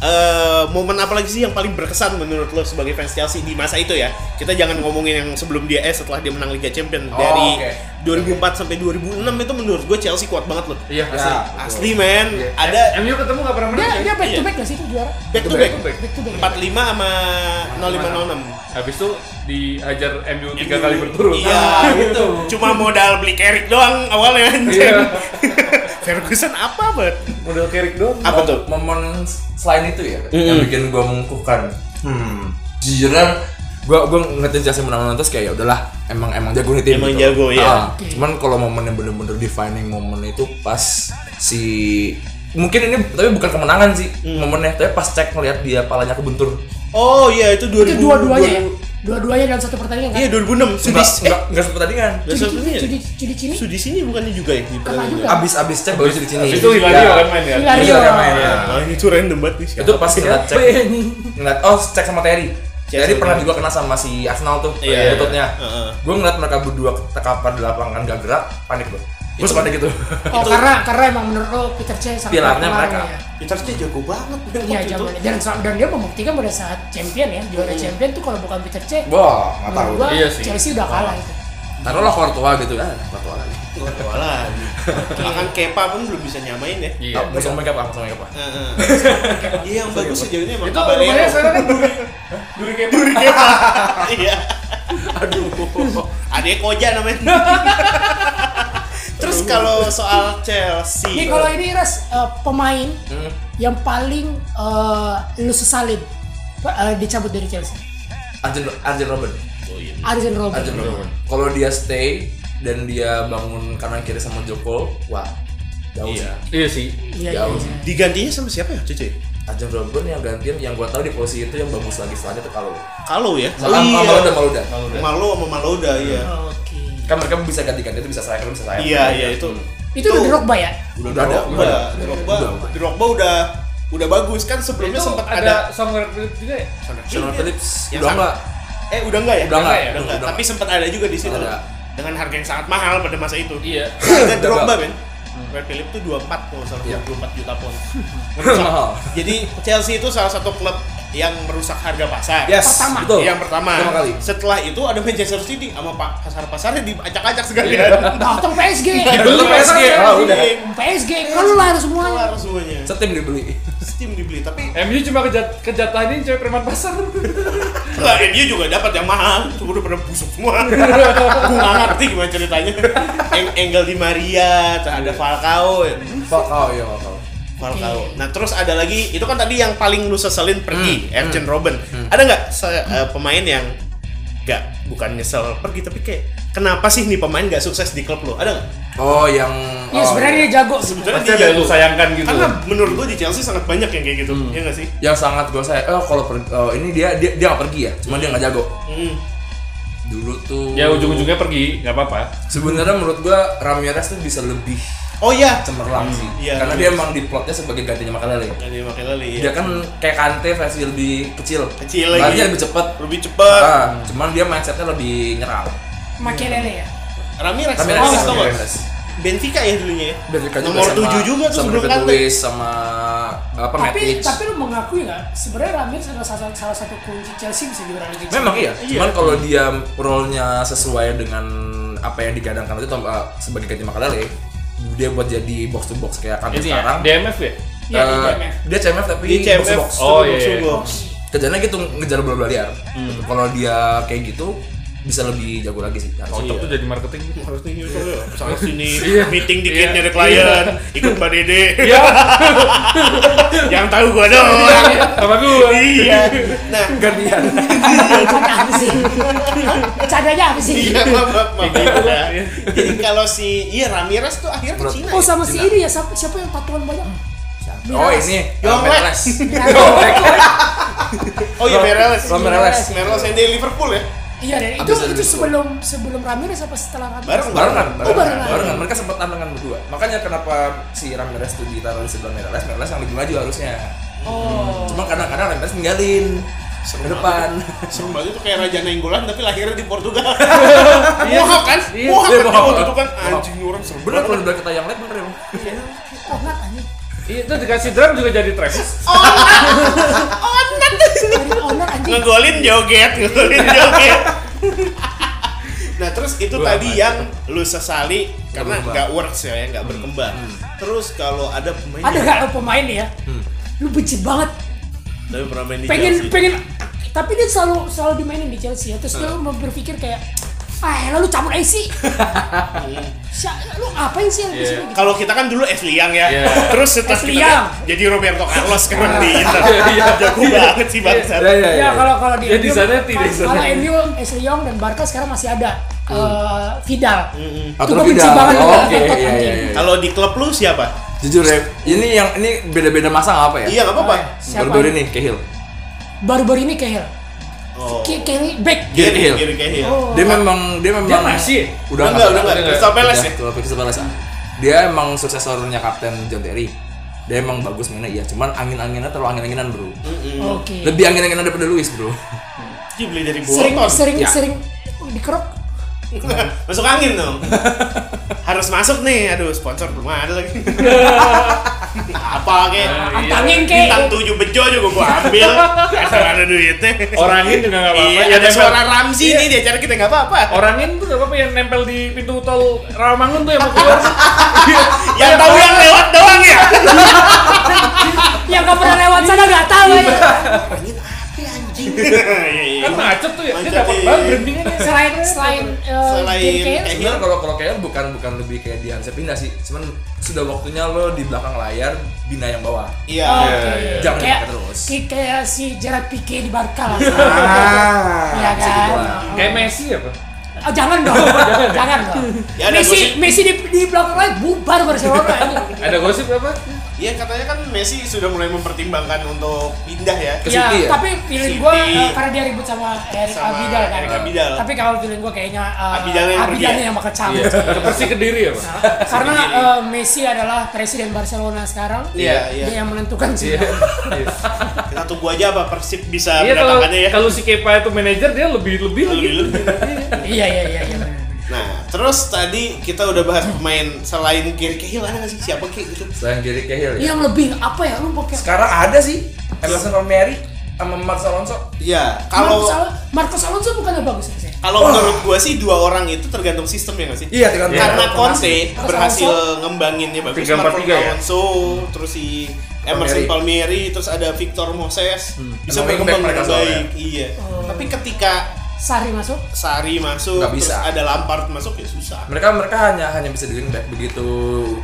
eh, momen apa lagi sih yang paling berkesan menurut lo sebagai fans Chelsea di masa itu ya kita jangan ngomongin yang sebelum dia eh setelah dia menang Liga Champion
Oh,
dari
oke.
2004 sampai 2006 itu menurut gue Chelsea kuat banget loh
iya
Ya,
asli
asli men ada
MU ketemu gak pernah
Dia
menang
dia
ya?
back to back nggak sih itu juara?
back to back
back to back.
ya?
45 sama 0506
habis itu dihajar MU tiga kali berturut
Iya, gitu. Cuma modal beli kerik doang awalnya anjing.
Iya.
Ferguson apa, Bert?
model kerik doang
Apa tuh?
momen selain itu ya yang bikin gue mengukuhkan hmm jujurnya gue gue ngeliatin Chelsea menang menang terus kayak ya udahlah emang emang jago nih tim
Emang
gitu.
jago, ya.
Ah, cuman kalau momen yang bener-bener defining momen itu pas si mungkin ini tapi bukan kemenangan sih momennya tapi pas cek ngeliat dia palanya kebentur
Oh iya, itu 2000.
Itu dua-duanya ya? Dua-duanya dalam satu pertandingan kan?
Iya, 2006. Sudi
nggak nggak
eh.
nggak sempet tandingan
Nggak
Cudi-
sempet ya?
Cudi Cudi Cini?
Sudi sini bukannya juga ya? Di
Pernah Eh? juga.
abis abis cek baru jadi sini Iya.
habis itu
Iya.
Hilario kan main ya
Hilario.
Hilario main, ya.
Nah, itu random banget nih.
itu pas ngeliat cek ngeliat oh cek sama Terry
Cek
Terry
sama
pernah
Terry.
juga kena sama si Arsenal tuh
Iya,
lututnya
iya. Heeh.
gue ngeliat mereka berdua terkapar di lapangan gak gerak panik gue gue suka kayak gitu
Oh, karena karena emang menurut lo Peter Cech sangat
Pilarnya
berpengaruh
mereka.
ya.
Peter Cech jago banget men,
Iya,
waktu itu. Iya.
zaman dan so- dan dia membuktikan pada saat champion ya, juara champion tuh kalau bukan Peter Cech,
wah nggak tahu
menurut gua
Iya sih.
Chelsea udah kalah itu.
taruhlah Courtois gitu kan Courtois lagi
Nggak ada lagi. Bahkan Nah, kan Kepa pun belum bisa nyamain ya.
iya
Nggak, nggak sama make up nggak sama make up
Heeh. Iya, yang bagus sejauh ini emang
itu rumahnya
Caballero.
sekarang kan duri duri kepa
Iya. Aduh. Adek koja namanya. Terus kalau soal Chelsea.
Iya.
Nih kalau ini Ras eh, pemain
Hmm.
yang paling eh, lu sesalin pe- eh, dicabut dari Chelsea.
Arjen Arjen Robben
Oh, iya.
Arjen Robben.
Oh, Arjen Robben kalau dia stay dan dia bangun kanan kiri sama Joko wah jauh
Iya.
sih
iya sih
Iya, iya.
jauh
iya.
digantinya sama siapa ya, Cece?
Arjen Robben yang gantiin yang gue tahu di posisi itu yang bagus lagi selanjutnya tuh kalau
Kalau ya.
sama sama Malouda Malouda
Malo sama Malouda iya.
Oke.
kan mereka bisa ganti-ganti itu bisa striker bisa sayap
Iya, iya itu.
Itu udah Drogba ya?
udah,
Udah
ada
ada, Iya.
udah ada.
Drogba. Drogba udah udah bagus kan sebelumnya
itu
sempat
ada
ada,
song Philip juga ya
Sean Phillips
Yang
udah
sama.
enggak
eh udah enggak ya?
Udah enggak ya?
Udah enggak.
Udah
Tapi sempat ada juga di situ.
Ada.
Dengan harga yang sangat mahal pada masa itu.
iya
Harga
Udah
Drogba,
enggak. Hmm.
men. Red Philip tuh 24 kalau nggak salah,
Iya.
24 juta pound.
Mahal.
Jadi Chelsea itu salah satu klub yang merusak harga pasar.
yes
Pertama.
betul.
Yang pertama.
pertama kali
Setelah itu ada Manchester City sama Pak pasar-pasarnya diacak-acak segalian.
Datang PSG.
Dulu Iya. PSG oh udah
PSG kelar
Iya,
semuanya.
Kelar semuanya.
setim dibeli
Steam dibeli tapi
MU cuma kejat kejatahin cewek preman pasar
lah dia juga dapat yang mahal cuma udah pada busuk semua aku nggak ngerti gimana ceritanya Eng Engel di Maria terus
Iya.
ada Falcao ya.
Falcao ya Falcao
Falcao nah terus ada lagi itu kan
Hmm.
tadi yang paling lu seselin pergi Arjen Robben ada nggak se- eh, pemain yang gak bukan nyesel pergi tapi kayak kenapa sih nih pemain gak sukses di klub lo? Ada nggak?
Oh, yang
Iya
oh,
sebenarnya dia jago.
Sebetulnya
Pasti ada yang lu sayangkan gitu. Hmm.
Karena menurut gue di Chelsea sangat banyak yang kayak gitu. Iya gak sih?
yang sangat gue saya oh kalau per- oh, ini dia dia dia nggak pergi ya cuma dia nggak jago
Hmm.
dulu tuh
Ya ujung-ujungnya pergi, nggak apa-apa.
sebenarnya menurut gue Ramirez tuh bisa lebih
Oh iya.
cemerlang sih
Iya,
karena
Ramirez.
dia emang di plotnya sebagai gantinya Makalele
Tadi makin lali.
dia kan kayak Kante versi lebih kecil
Kecil lagi.
Larinya lebih cepet
lebih cepat.
Ah, cuman dia mindsetnya lebih nyerang Iya.
Makelele ya.
Ramirez,
Ramirez,
Ramirez, tau nggak?
Ramirez.
Benfica ya dulunya ya.
Benfica juga
Nomor
sama-
7 juga tuh
sama
sebelum
David
Kante.
Luiz sama apa
Tapi
Matic
tapi lu mengakui nggak? Sebenarnya Ramirez adalah salah, salah satu kunci Chelsea bisa juara Liga
Memang iya,
Iya.
cuman kalau dia role-nya sesuai dengan apa yang digadangkan itu uh, sebagai ganti Makalele dia buat jadi box to box kayak Kante
Ini ya,
sekarang
DMF ya?
Iya, di
Eh,
DMF.
dia CMF tapi
iya. Di
box
CMF.
to box
Oh, iya,
Box to
iya.
box.
kerjanya gitu ngejar bola bola liar
Hmm.
kalau dia kayak gitu bisa lebih jago lagi sih Nah,
Oh,
harusnya.
Otak tuh jadi marketing.
Harusnya gitu ya. Sana sini
Iya.
meeting
Iya.
dikit nyari klien, ikut Pak Dede.
Iya,
Yang tahu gua doang.
apa gua?
Iya. Nah,
gantian
Bercanda apa sih? Bercandanya apa sih?
iya maaf, maaf, maaf.
Kayak gitu.
Nah, Jadi kalau si iya Ramirez tuh akhirnya ke
Menurut-
Cina.
Oh
ya?
sama si ini ya siapa, siapa yang tatuan banyak?
oh ini
Yonglek.
Mereles
Oh iya Mereles.
Rom- Mereles
Mereles yang dari Liverpool ya.
Iya, dan itu
Abis dari
itu
Liverpool.
sebelum sebelum Ramirez apa setelah Ramirez?
Bareng
barengan
Oh, barengan.
barengan mereka sempat tantangan berdua makanya kenapa si Ramirez tuh ditaruh di sebelah Mereles Mereles yang lebih maju harusnya
Oh.
cuma kadang-kadang Ramirez ninggalin
Serem
ke depan
Serem banget itu kayak Raja Nainggolan tapi lahirnya di Portugal. Mohawk kan?
Iya,
Mohawk
iya,
kan?
mohawk.
Waktu itu kan
Mohawk.
anjing orang serem
bener kalau
banget.
dibilang kita yang lain bener emang
Oh, nggak tanya.
Itu dikasih drum juga jadi Travis.
Dari owner anjing.
ngegolin joget, ngegolin joget. nah terus itu
Gua
tadi
aman.
yang lu sesali karena
berkembang.
nggak works ya, nggak
Hmm.
berkembang. Terus kalau ada pemain
Ada
yang-
nggak lo pemain nih ya? Lu benci banget.
Tapi pernah main di
Pengen
Chelsea.
pengen. Tapi dia selalu selalu dimainin di Chelsea. ya. Terus dia mau berpikir kayak, ah lalu cabut aja sih. Sya- lu ngapain sih yang di sini? gitu?
Kalau kita kan dulu S Liang ya,
Iya.
terus setelah
S.
kita
Liang.
jadi Roberto Carlos sekarang
Iya.
di Inter, jago banget sih bangsa.
ya ya
Ya kalau kalau di
Ya, di
MU,
sana tidak, di sana.
Kalau MU, Ashley Young dan Barca sekarang masih ada eh, Vidal. Itu
Atau
gue benci
Vidal.
banget
Oh,
sama
oke,
Gatot,
iya, iya,
anjing.
iya.
Kalau di klub lu siapa?
jujur ya ini yang ini beda-beda masa apa ya
Iya nggak apa-apa.
Siapa?
baru-baru ini Cahill
Baru-baru ini Cahill.
Oh.
Ke- Cahill back.
Gary Hill.
Gary Cahill.
dia memang dia memang
Dia masih?
udah
Udah iya. enggak, udah
udah
enggak.
nggak.
Crystal Palace ya?
Udah, Crystal Palace, ah. dia emang suksesornya kapten John Terry dia emang bagus mainnya iya cuman angin-anginnya terlalu angin-anginan bro
Hmm.
Oke.
lebih angin-anginan daripada Luis bro
Dia beli dari
Sering
Bolton.
sering
Ya.
sering Oh, dikerok.
masuk angin dong harus masuk nih aduh sponsor belum ada lagi apa kek
Ah, iya.
Antangin kek.
bintang tujuh bejo juga gua ambil asal ada duitnya
Orangin juga nggak apa-apa.
Iya,
Ya,
ada
nempel.
suara Ramzi
Iya.
nih di acara kita nggak apa-apa
Orangin tuh nggak apa-apa yang nempel di pintu tol Rawamangun tuh yang mau keluar.
yang tahu yang lewat doang ya
Yang gak Ya, pernah lewat sana gak tahu ya.
Iya, iya.
Kan macet tuh ya. Dia
Macet,
dapat
iya.
banget brandingnya nih.
Selain selain eh,
Selain
Gary Cahill,
Cahill.
sebenarnya kalau kalau kayak bukan bukan lebih kayak dia harusnya pindah sih cuman sudah waktunya lo di belakang layar bina yang bawah
iya
Oh, oke. Kayak,
Jangan dipakai terus.
kayak- kayak si Gerard Pique di Barca lah. Iya
ah
kan?
Kayak Messi ya, apa?
Oh, jangan dong, jangan dong.
Ya, ada
Messi,
gosip.
Messi di, di belakang lain bubar Barcelona ini.
Ada gosip apa?
iya katanya kan Messi sudah mulai mempertimbangkan untuk pindah ya
Ke
ya,
City ya?
tapi feeling
City.
gue karena dia ribut sama Eric
Sama
Abidal kan.
Eric Abidal.
Tapi kalau feeling gue kayaknya eh,
Abidalnya yang pergi
Abidalnya
ya?
yang bakal cabut.
Ke Persi Kediri ya, apa?
karena eh, Messi adalah presiden Barcelona sekarang.
Iya, iya.
Dia yang menentukan sih.
Iya.
kita tunggu aja apa Persib bisa
Iya kalau
mendatangkannya ya
kalau gitu. si Kepa itu manajer dia lebih-lebih lagi.
Lebih-lebih.
iya, iya, iya, iya.
Nah, terus tadi kita udah bahas pemain selain Gary Cahill ada nggak sih siapa Ki gitu?
selain Gary
Iya.
Cahill ya
Yang lebih apa ya lu pakai
sekarang ada sih Emerson Romero sama Marcos Alonso
Iya,
Marcos
kalau
Alonso, Marcos Alonso bukannya bagus ya?
kalau menurut gua sih dua orang itu tergantung sistem ya nggak sih?
Iya, tergantung
Karena
formasi.
Conte berhasil ngembanginnya bagus.
3-4-3
Marco
ya?
Alonso, terus si Emerson Palmieri, terus ada Victor Moses bisa berkembang
Emang wingback
dengan
Hmm. mereka soalnya.
baik. Iya. Tapi ketika
Sari masuk.
Sari masuk,
Nggak
terus
bisa.
ada Lampard masuk ya susah.
mereka mereka hanya hanya bisa doing back begitu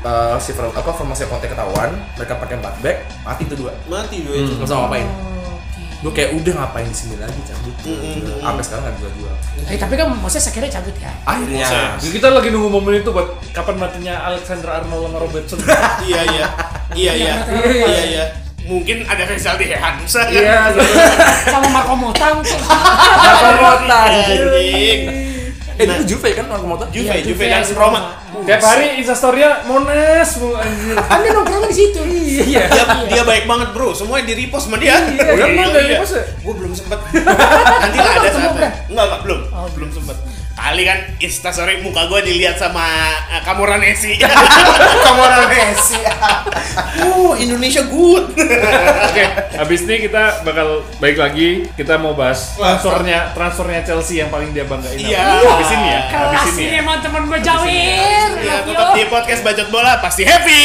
uh, si form- apa formasi konten ketahuan mereka pakai empat back mati itu dua Hmm,
Mati dua itu.
Iya. nggak usah ngapain
Oke.
gue kayak udah ngapain di sini lagi cabut sampai sekarang nggak bisa jual
Eh, tapi kan maksudnya sekiranya cabut kan.
akhirnya
Jadi kita lagi nunggu momen itu buat kapan matinya Alexander Arnold sama Robertson.
iya iya iya iya
Iya,
iya.
iya iya mungkin ada Rizal di Hansa kan?
Iya, betul.
Sama Marco Motang.
apa kota
Anjing.
Iya,
eh dulu Juve kan orang motor
Juve
Iya,
Juve
Juve,
dan
Juve.
Roma
Tiap hari instastorynya Monas mulu anjir.
Anda Kan nongkrong di situ. Iya.
dia, dia baik banget bro semuanya di repost sama dia
Iya,
Gua
emang
bilang,
dari
iya.
repost ya?
Gua belum sempet nanti lah ada
Belum
saatnya
sempet.
enggak enggak
Oh,
belum belum sempet kali kan instastory muka gua dilihat sama eh, Kamoran Esi Kamoran Esi
Iya,
uh Indonesia good
Oke, habis ini kita bakal baik lagi. Kita mau bahas transfernya transfernya Chelsea yang paling dia banggain. apa.
Iya.
Habis ini ya. Habis
Kelas
ini.
ini
Ya.
emang teman Iya, gue jawir.
ya
Love you.
tetap di podcast bacot bola pasti happy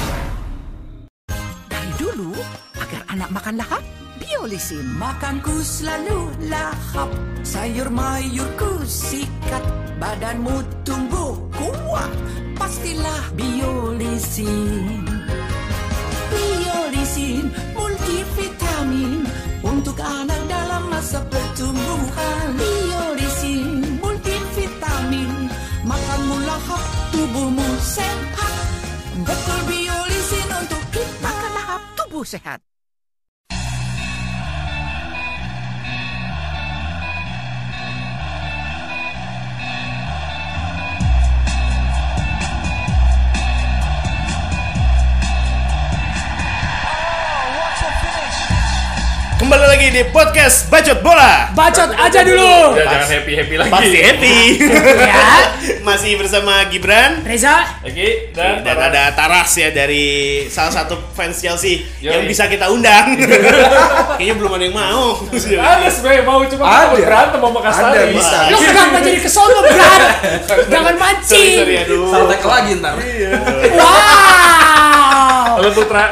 Dari dulu, agar anak makan lahap, Biolisin. Makanku selalu lahap, sayur mayurku sikat, badanmu tumbuh kuat, pastilah Biolisin. Biolisin, multivitamin, untuk anak dalam masa pertumbuhan. Biolisin, multivitamin, makanmu lahap, tubuhmu sehat. Betul biolisin untuk kita. Makan lahap, tubuh sehat.
kembali lagi di podcast bacot bola
Bacot aja dulu.
Udah, jangan happy happy lagi.
pasti happy
Iya.
Ya.
masih bersama Gibran
Reza,
Oke, dan,
dan ada Taras ya dari salah satu fans Chelsea
Yoi.
yang bisa kita undang. Kayaknya belum ada yang mau.
ada sebenarnya mau cuma
Ada.
takut berantem sama Kastari.
Ada, bisa.
lu
Iya.
kenapa jadi kesono, Bran? Jangan
Sorry, sorry,
mancing.
aduh.
Saltek lagi ntar
Iya.
Wow.
Halo Putra.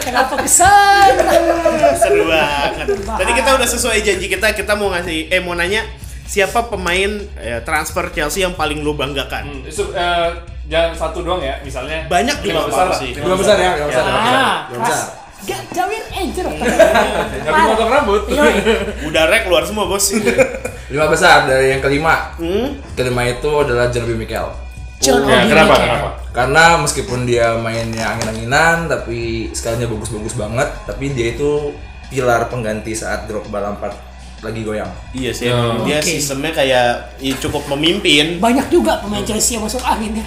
Kenapa kesana?
Seru banget. Tadi kita udah sesuai janji kita, kita mau ngasih eh mau nanya siapa pemain eh, transfer Chelsea yang paling lu banggakan?
Su- eh, jangan satu doang ya, misalnya.
Banyak
lima
juga
besar
apa
lah.
sih?
dua besar ya dua besar dua besar,
Ah,
dua
kelas.
besar.
Gak jawir angel.
Tapi potong rambut.
Udah rek keluar semua bos.
lima besar dari yang kelima
Hmm?
kelima itu adalah Jeremy Mikel
John
Ya,
Obi
kenapa?
Mikel.
Kenapa?
karena meskipun dia mainnya angin-anginan tapi skalanya bagus-bagus banget tapi dia itu pilar pengganti saat Drogba Lampard lagi goyang
Iya sih, emang dia
Oh, Oke.
sistemnya kayak ya, cukup memimpin.
Banyak juga pemain Chelsea yang masuk angin ya.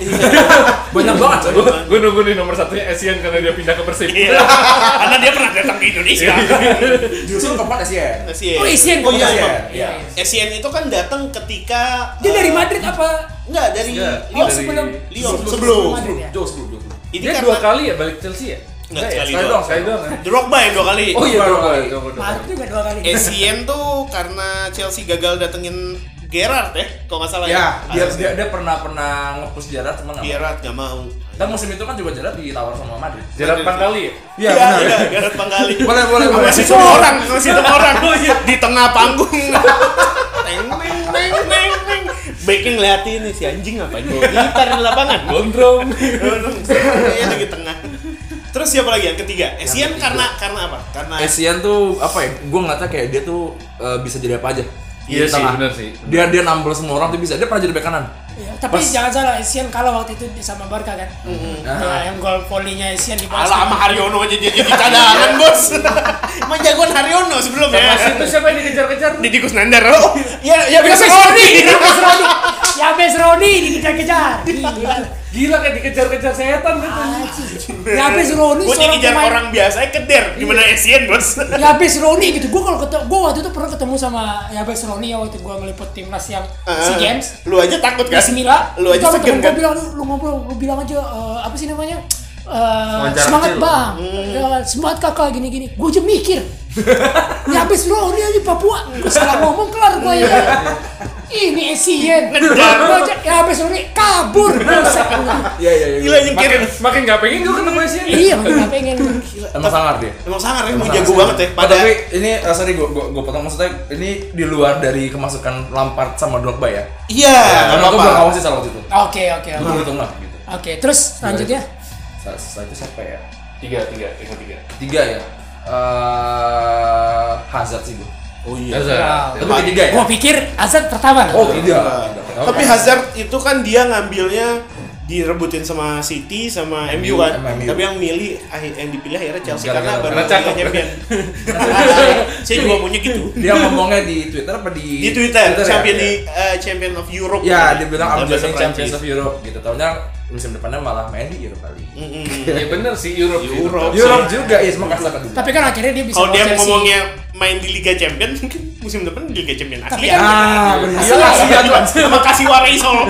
banyak banget coy.
Gue nunggu nih nomor satunya Asian karena dia pindah ke Persib.
Iya. Karena dia pernah datang ke Indonesia.
justru keempat SCN
SCN.
Oh, SCN.
Oh iya, iya.
iya
SCN itu kan datang ketika
Dia
eh,
dari Madrid apa?
Enggak dari
Enggak,
Lyon
Oh, sebelum
Lyon Iya, sebelum.
Madrid ya?
jauh sebelum jauh sebelum
Ini
Dia
karena
dua kali ya balik Chelsea ya?
Enggak, sekali
sekali
doang.
doang
Sekali doang iya. kan?
Drogba yang dua kali.
oh iya dua kali
Madrid juga dua kali.
Eh, ACN tuh karena Chelsea gagal datengin Gerrard ya, kalau nggak salah
ya dia
Harusnya.
dia, dia pernah pernah ngepus Gerrard cuma nggak
Gerrard nggak mau.
mau. dan musim itu kan juga Gerrard ditawar sama Madrid
Jalan empat kali ya?
iya
Iya,
benar
iya, Gerrard panggali.
boleh boleh boleh
Masih semua orang, masih semua orang
Oh, iya.
di tengah panggung. Neng neng neng neng neng. Baking ngeliatin nih si anjing ngapain bawa gitar di lapangan.
Gondrong.
Iya di tengah. Terus siapa lagi yang ketiga? ACN karena karena apa? Karena
Asian Eh, tuh apa ya? Gue ngata kayak dia tuh eh, bisa jadi apa aja.
Iya
Di
sih,
tengah.
bener sih.
Dia dia nambel semua orang tuh bisa. Dia pernah jadi bek kanan.
Ya, tapi jangan salah, Asian kalah waktu itu sama Barca kan. Nah, yang gol volleynya Asian di
Mm-hmm. Alah sama Haryono aja jadi jadi cadangan bos. Emang jagoan Haryono ya. sebelumnya.
Masih itu siapa yang dikejar-kejar?
Didi Kusnandar. Oh, ya ya
Ya
biasa
bes Roni,
Sony.
ya bes Roni, ya bes Roni dikejar-kejar. Iya. Gila.
Gila kayak dikejar-kejar setan kan?
Ya bes Roni
Gue
seorang
dikejar
pemain-
orang biasa keder. Gimana Asian bos?
Ya bes Roni gitu. Gua kalau ketemu gua waktu itu pernah ketemu sama ya bes Roni ya waktu gua meliput timnas yang
Eh.
SEA Games.
Lu aja takut kan?
Bismillah.
Lu aja
Ya, Iya. Itu sama
segan kan?
temen Gua bilang lu, lu ngobrol, lu bilang aja eh, apa sih namanya? Eh,
Wawancara
semangat
kecil.
bang,
Hmm.
Eh, semangat kakak gini-gini. Gue aja mikir, Ya, nyabis bro, dia di Papua. Gue salah ngomong kelar gue ya. Ini Asian. Gue aja, ya habis bro, ini kabur. Buset, gua.
Iya iya iya.
Gila yang
Makin
kira.
makin gak pengen gue ketemu Asian.
Iya, gue nggak pengen. Gila.
Emang sangar dia.
Emang sangar ya, emang
Sangar
jago
sih.
banget ya.
Oh,
Pada
tapi ini eh, sorry gue gue potong maksudnya ini di luar dari kemasukan Lampard sama Drogba ya.
iya.
Karena gue belum ngawasin salah waktu itu.
Oke, oke,
Gue
oke.
belum hitung lah gitu.
Oke, terus selanjutnya.
Sa- Setelah itu siapa ya?
Tiga, tiga, tiga, tiga.
Tiga ya. eh Hazard sih gue.
Oh iya.
Hazard.
Tapi bagi tiga ya?
Gua pikir Hazard pertama.
Oh tidak.
Tapi Hazard itu kan dia ngambilnya direbutin sama City sama MU kan.
sama MU.
Tapi yang milih akhir- yang dipilih akhirnya Chelsea
Enggak,
karena
enggak,
baru
karena
Liga
cakep.
champion. Saya juga maunya gitu.
Dia ngomongnya di Twitter apa di
Di Twitter,
ya?
champion
Ya.
di eh, champion of Europe.
Ya, dia bilang I'm
Dalam bahasa
joining
Prancis.
Champions of Europe gitu. Taunya musim depannya malah main di Europa League.
Mm-mm.
Ya bener sih Europe. sih,
Europe.
tetap.
Europe juga, ya semua kasar kedua.
Tapi kan akhirnya dia bisa
Kalau dia
bawa Chelsea.
ngomongnya main di Liga Champion, mungkin musim depan di Liga Champion Asia.
Tapi
Iya,
kan
ah, benar.
Asia, Asia,
iya.
sama Kasihwarai Solo.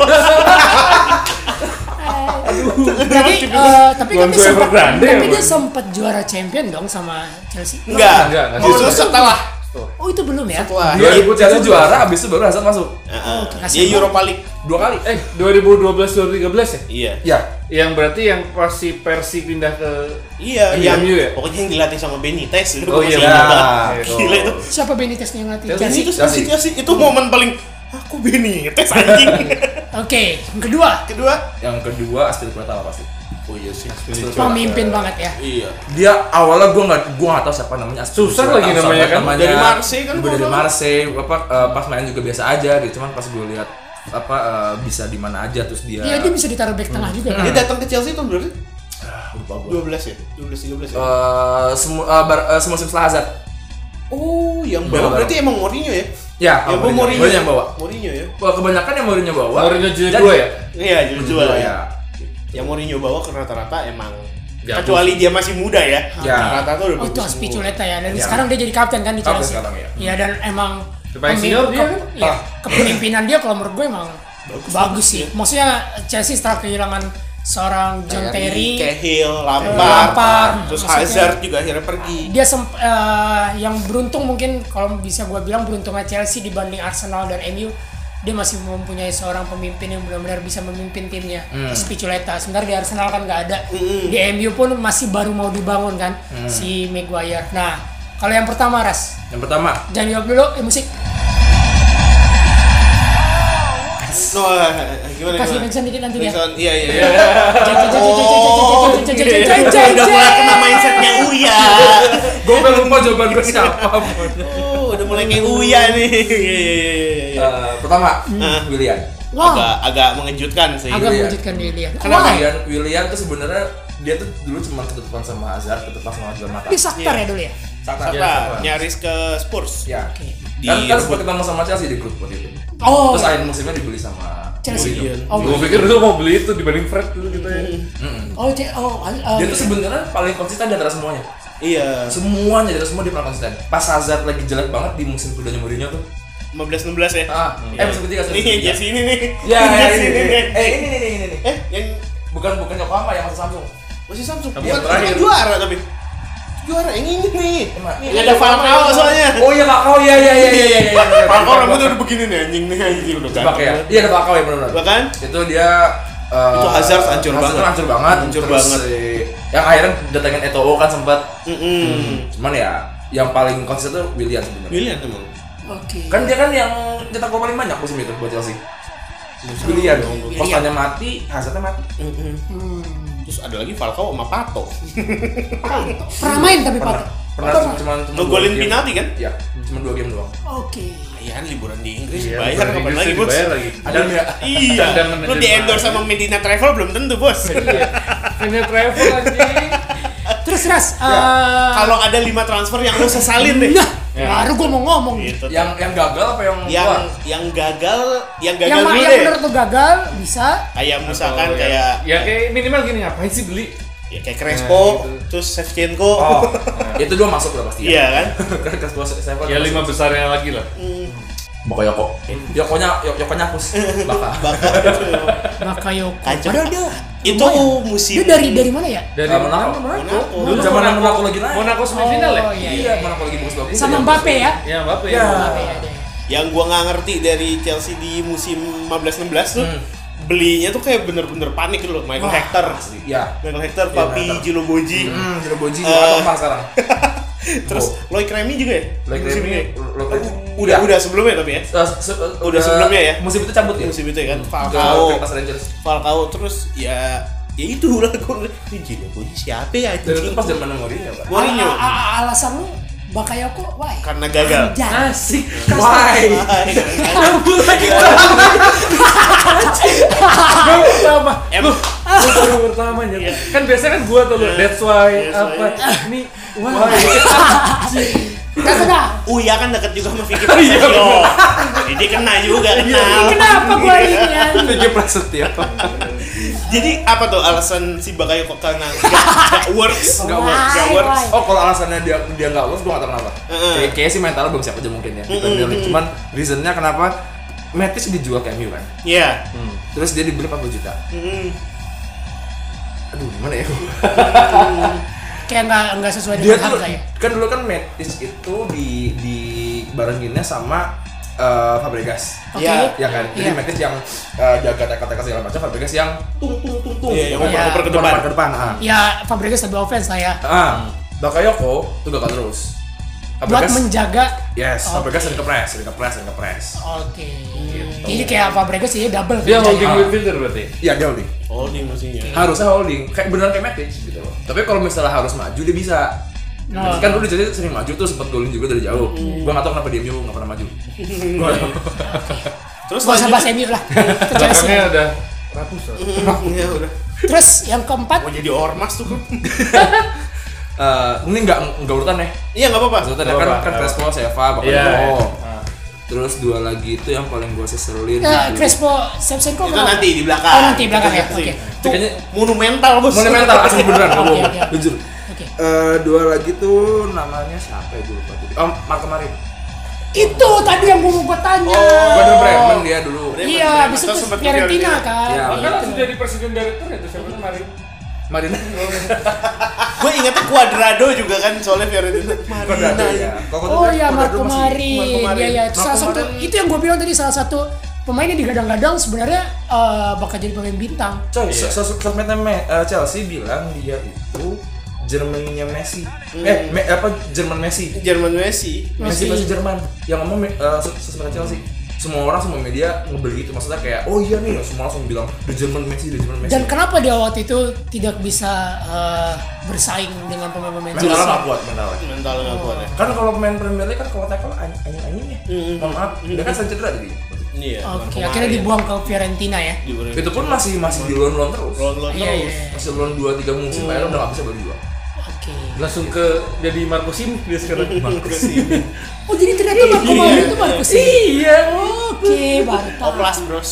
Jadi, eh, tapi kan dia
Lonzo
sempat,
Evergrande
tapi
ya,
dia
Bang?
sempat juara champion dong sama Chelsea.
Enggak.
Enggak, enggak.
Justru setelah
Oh itu belum ya?
setelah
Dia ikut Chelsea Iya, juara, abis itu baru Hazard masuk
Heeh.
kasih
Ah, Dia
gua.
Europa League.
dua kali.
Eh 2012 2013 ya?
Iya.
Ya,
Yang berarti yang pasti Persi pindah ke
Iya,
Iya,
yang
MU ya?
pokoknya yang dilatih sama Benitez itu
Oh,
gua
iya,
masih ingat
iya.
banget. Gila itu.
Siapa Benitez yang ngelatih
Dan
iya. Chelsea?
itu
Oke,
pasti
Chelsea.
Chelsea itu momen paling aku Benitez anjing.
yang kedua
Kedua,
yang kedua Aspil Pratama pasti.
oh iya sih.
pemimpin banget ya.
Iya.
Dia awalnya gue nggak gue nggak tahu siapa namanya. Aspil
Susah
Pratama,
lagi
siapa
namanya kan.
Dari Marseille kan
Gua
kalau
dari
nggak salah.
Marseille apa eh, pas main juga biasa aja gitu. Cuman pas gue lihat apa eh, bisa di mana aja terus dia.
Iya, dia bisa ditaruh back tengah juga. ya.
Dia datang ke Chelsea tahun berapa?
lupa gue.
12 ya? 12 13 ya.
Eh, semu- eh, bar- eh, semusim setelah Hazard.
Oh, yang bawa
bawa.
berarti emang Mourinho ya?
Ya,
Ya,
sama
gua Mourinho.
Mourinho yang bawa.
Mourinho ya.
Wah, kebanyakan yang Mourinho bawa.
Mourinho Jilid
Jadi-
dua ya?
Iya, jadi jual
Dua,
ya.
ya.
Yang Mourinho bawa ke rata-rata emang
Jago.
kecuali dia masih muda ya.
Ya.
Rata-rata udah
Oh,
bagus
itu
semua.
Aspicholeta ya. Dan
Iya.
sekarang dia jadi kapten kan di
Kapten
Chelsea.
sekarang, ya.
Iya, dan emang pemimpin-
Paling senior dia
ke-
kan?
iya, kepemimpinan dia kalau menurut gue emang bagus, sih. Maksudnya Chelsea setelah kehilangan seorang John Terry,
Cahill,
Lampard.
Lampard, terus
Maksudnya-
Hazard juga akhirnya pergi.
dia semp eh, yang beruntung mungkin kalau bisa gue bilang beruntungnya Chelsea dibanding Arsenal dan MU dia masih mempunyai seorang pemimpin yang benar-benar bisa memimpin timnya
Hmm.
Spicculeta sebenarnya di Arsenal kan nggak ada di MU pun masih baru mau dibangun kan
Hmm.
si Maguire nah kalau yang pertama Ras
Yang pertama,
jangan jawab dulu eh, musik
No, eh, gimana?
kasih
gimana?
mention dikit nanti ya
Nixon, iya iya. iya. Udah mulai kena
Jangan
mindsetnya Uya.
gue pengen lupa jawaban gue siapa.
Oh, udah mulai kayak Uya nih. Iya iya iya, iya.
Eh, pertama,
Hmm.
Willian.
Agak agak mengejutkan sih.
agak
Willian.
mewujudkan dia dia
Iya. Kenapa ya?
Wah,
Willian? Willian tuh sebenarnya dia tuh dulu cuma ketutupan sama Hazard, ketutupan sama Juan Mata.
dia saktar ya dulu ya
Sakta.
Apa? Nyaris ke Spurs.
Ya.
Oke.
Kan, kan
Di-
sempat ketemu sama Chelsea di grup waktu itu.
oh
Terus akhir musimnya dibeli sama
Chelsea
Mourinho.
oh
Gue pikir lu mau beli itu dibanding Fred dulu gitu ya.
Iya, Hmm.
Oh, cek, oh, al- al-
hmm. Dia tuh sebenarnya paling konsisten di antara semuanya.
Iya.
Semuanya dari semua dia paling konsisten. Pas Hazard lagi jelek banget di musim keduanya Mourinho tuh.
15 16 ya.
Ah, eh musim ketiga musim
Nih yang
ketiga.
jersey ini nih.
Ya,
Yang
ya,
jersey
ini,
ini
ini.
nih.
Eh, ini, ini, ini, ini, ini.
Eh, yang
Bukan bukan Yokohama yang masih Samsung.
masih Samsung. Bukan
Tapi yang terakhir.
bukan juara tapi. Juara yang ini nih.
Emang.
Ini Iya, Ada Falcao soalnya.
Oh iya Kakao, iya iya iya iya iya. iya, iya.
Falcao rambutnya udah begini nih anjing nih anjing udah
Jebak ya. Iya ada Kakao ya benar.
Bahkan
Itu dia eh,
Itu Hazard hancur
Hazard
banget.
hancur banget.
Hancur
Terus,
banget.
eh, yang akhirnya datangin Eto'o kan sempat.
Heeh.
Cuman ya yang paling konsisten tuh William sebenarnya.
Hmm. William emang.
Oke.
Kan dia kan yang cetak gol paling banyak musim itu buat Chelsea. Willian, Kostanya mati, Hazardnya mati.
Terus ada lagi Falcao sama Pato.
Pernah main tapi Pak.
Pernah cuma cuma
Ngegolin
dua game.
penalti kan?
Iya, cuma dua game doang.
Oke.
Iya kan liburan di Inggris
Iya,
bayar
bukan
kapan
Inggris
lagi
sih,
bos?
dibayar lagi.
Ada nggak?
Iya.
Cadangan
Lu
aja
di endorse sama Medina Travel belum tentu bos.
Iya. Ini travel anjing.
Terus Ras, eh,
Kalau ada lima transfer yang lu sesalin Ya, deh. Ya.
nah, baru gue mau ngomong.
Gitu.
Yang yang gagal apa yang
Yang
keluar?
yang gagal, yang gagal
Yang ma-
dulu
yang
deh.
menurut lo gagal bisa
Kayak misalkan
Oh, ya.
kayak
ya kayak minimal gini ngapain sih beli?
ya kayak Crespo,
Nah, gitu.
terus Shevchenko.
Oh, itu dua masuk udah pasti.
Iya kan?
Kan kelas dua saya
Iya,
Ya lima besarnya lagi lah.
Hmm. Pokoknya Yoko. Yokonya Yok- Yokonya hapus. Bakal.
Bakal itu.
Bakayoko.
Kacau.
Padahal dia
gitu. Itu
lumayan.
musim Oh.
Dia dari dari mana ya?
Dari
Ah, Monaco.
Monaco.
Dulu zaman yang Monaco lagi naik.
Monaco semifinal ya?
iya,
Iya,
iya.
Monaco lagi bagus-bagus.
Sama Mbappe ya?
Ya, Bapak
Ya.
ya.
Mbappe ya. dia.
yang gua nggak ngerti dari Chelsea di musim 15-16
Hmm.
tuh belinya tuh kayak bener-bener panik gitu loh Michael Hector
Iya.
Michael Hector, Papi,
Hector.
ya?
Jiloboji
Hmm, Oh. Jero Boji
Eh.
atau Pak sekarang.
terus Loic Remy juga ya?
Loic
Musim
Remy,
ini?
Loic Remy.
udah udah sebelumnya tapi ya
Eh, se- eh,
sebelumnya ya?
Musim itu cabut ya?
musim itu ya kan
Ke
Falcao
Rangers.
Falcao terus ya ya itu lah gue Gino Koji siapa ya
Dan itu
anjing
pas zaman Ah, Mourinho pak.
Mourinho
A- a- a- alasan lu Bakayoko, why?
karena gagal
Jangan.
Asik.
Why? Eh,
Gol pertama.
Em-
Loh, gol pertama nyet. Kan biasanya kan gua tuh lu. That's why
That's
apa ini Iya, wah.
Gak kenal.
Uya kan deket juga sama
Oh
Vicky
iya,
Prasetyo jadi kena juga kenal
Eh, Kenapa gua ini ya?
Vicky Prasetyo.
jadi apa tuh alasan si Bakayo kok karena gak, gak works
Nggak works,
gak
Why,
works
why?
Oh kalau alasannya dia dia nggak works gue nggak tahu kenapa.
Heeh.
Kayak kayaknya sih mentalnya belum siap aja mungkin ya. di Premier League. Cuman reasonnya kenapa Matis dijual ke MU kan.
Iya
Terus dia dibeli 40 juta. Aduh gimana ya?
Kayak nggak nggak sesuai
dia
dengan
tuh
harga ya.
kan dulu kan Matis itu di di barenginnya sama eh, Fabregas.
Oke.
Iya.
Ya kan,
Iya.
jadi Matic yang eh, jaga teka-teka segala macam, Fabregas yang tung tung tung tung.
Iya, yang
Pokoknya
oper-oper
ke depan.
oper-oper ke depan. ah.
Ya Fabregas lebih offense lah ya.
Ah, Bakayoko tuh gagal terus.
Buat
Fabregas,
menjaga.
yes,
Oke.
Fabregas sering kepres, sering kepres, sering kepres.
Oke. Jadi kayak Fabregas sih double. kan ya?
Dia
kerjanya.
holding midfielder berarti.
Iya, dia holding.
oh di musimnya
Harusnya holding, kayak beneran kayak Matic gitu loh. Tapi kalau misalnya harus maju dia bisa.
Nah. Iya.
Kan dulu jadi sering maju tuh sempet golin juga dari jauh. Gua nggak tahu kenapa dia MU nggak pernah maju. Gua nggak tahu.
terus
Gak usah bahas
lanjut-
MU lah. Ke Chelsea.
Belakangnya ada ratusan.
Iya, udah
Terus yang keempat
mau jadi ormas tuh kan
Eh, ini nggak nggak urutan ya.
iya nggak apa-apa
Maksudnya kan
apa-apa.
kan Crespo, Seva,
Iya.
Bakayoko.
Ah.
Terus dua lagi itu yang paling gue
eh,
seselin. dulu.
Crespo Shevchenko
itu
kenapa?
nanti di belakang
Oh nanti belakang ya.
Itu
Oke.
Itu kayaknya
monumental bos
monumental asli beneran nggak bohong.
Oke, oke.
Jujur.
Oke.
Eh, dua lagi tuh namanya siapa ya gue lupa tadi. Oh, Marco Marin.
Itu tadi yang mau gue tanya.
Gue Oh, dulu Bremen dia dulu.
Iya, habis
Atau
itu
sempat
Fiorentina
Fiorentina.
kan.
Iya.
Bahkan langsung jadi presiden direktur ya tuh siapa kemarin.
Marin.
gue ingetnya Cuadrado juga kan soalnya Fiorentina
Cuadrado ya. Kok Cuadrado-
Nah, Oh ya
Cuadrado
Marco
masih-
Marin.
Marin.
Iya ya, itu salah
Marco
satu
Marin.
itu yang gue bilang tadi salah satu pemainnya digadang-gadang sebenarnya eh, bakal jadi pemain bintang.
Coy, se- se- se- sosmednya Me- eh, Chelsea bilang dia itu Jermannya Messi.
Hmm.
Eh, Me- apa Jerman Messi.
Jerman Messi
Messi
Messi.
pasti Jerman yang ngomong eh, se- sesama Chelsea semua orang semua media ngebeli itu maksudnya kayak oh iya nih semua langsung bilang the Jerman Messi the Jerman Messi
Dan kenapa dia waktu itu tidak bisa eh, bersaing dengan pemain-pemain
mentalnya nggak
Chelsea?
kuat mentalnya
mental nggak kuat ya
kan kalau main Premier League kan kalau tackle anjing anjing ya
Hmm.
mohon maaf dia kan sering cedera jadi
iya Marco
Oke, akhirnya
Marin.
dibuang ke Fiorentina ya.
Di Fiorentina.
itu pun masih masih di loan loan terus
Lon- lon
Iya, iya.
terus
iya.
masih loan dua tiga
Hmm.
musim akhirnya udah nggak bisa beli dua
Oke.
Langsung ke jadi Marco Simic dia sekarang.
Oh, jadi ternyata Marco Marin itu Marco sih.
Iya.
Oke, baru
Oh,
tahu.
plus bros.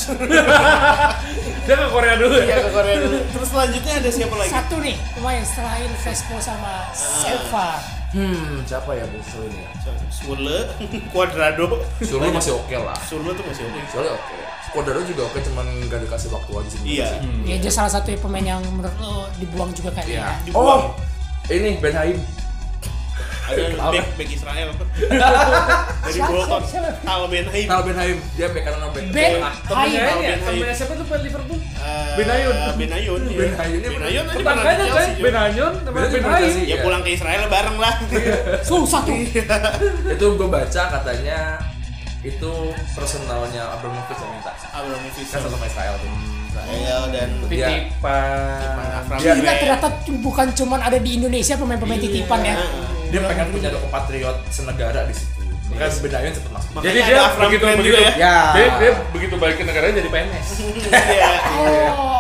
Dia ke Korea dulu
Iya
ya.
ke Korea dulu. Terus selanjutnya ada siapa lagi?
Satu nih, lumayan selain Vespo sama Seva.
hmm siapa ya bos ini ya
Surle, Cuadrado.
Surlo masih oke lah
Surle tuh masih oke.
Surlo oke Cuadrado juga oke cuman nggak dikasih waktu aja sih
Iya.
Hmm.
Ya, dia salah satu pemain yang menurut lo dibuang juga kayaknya.
Iya.
Dibuang.
oh ini Ben Haim
Ada back back Israel apa? Dari
Siapa,
Bolton.
siapa, siapa?
Tal Ben Haim.
Kalau Ben Nah, Haim dia back kanan atau back
Ben
tengah?
Haim.
Temennya ini ya,
Ben Hayun.
temennya siapa tuh pemain Liverpool?
Eh,
Benayun.
Benayun. ya.
Benayun, dia
Benayun aja pernah
Tetangganya
di
kan
Chelsea,
Ben
juga.
Hayun, temen
Benayun
Ben
temen
Hayun.
Chelsea.
Ya
Iya.
pulang ke Israel bareng lah.
Susah
Iya,
tuh.
itu gue baca katanya itu personalnya Abramovich yang minta kan
Abramovich.
satu sama Israel tuh Nah,
Israel dan
Iya.
Titipan.
Iya.
Gila ternyata bukan cuman ada di Indonesia pemain-pemain
Iya.
titipan ya.
dia pengen punya ada kompatriot senegara di situ Kan makanya sebenarnya sempat masuk
Makanya
Jadi
ada
dia
Avram
begitu
Grant
begitu
juga
ya.
Dia, dia begitu balik ke negaranya jadi PNS.
Iya.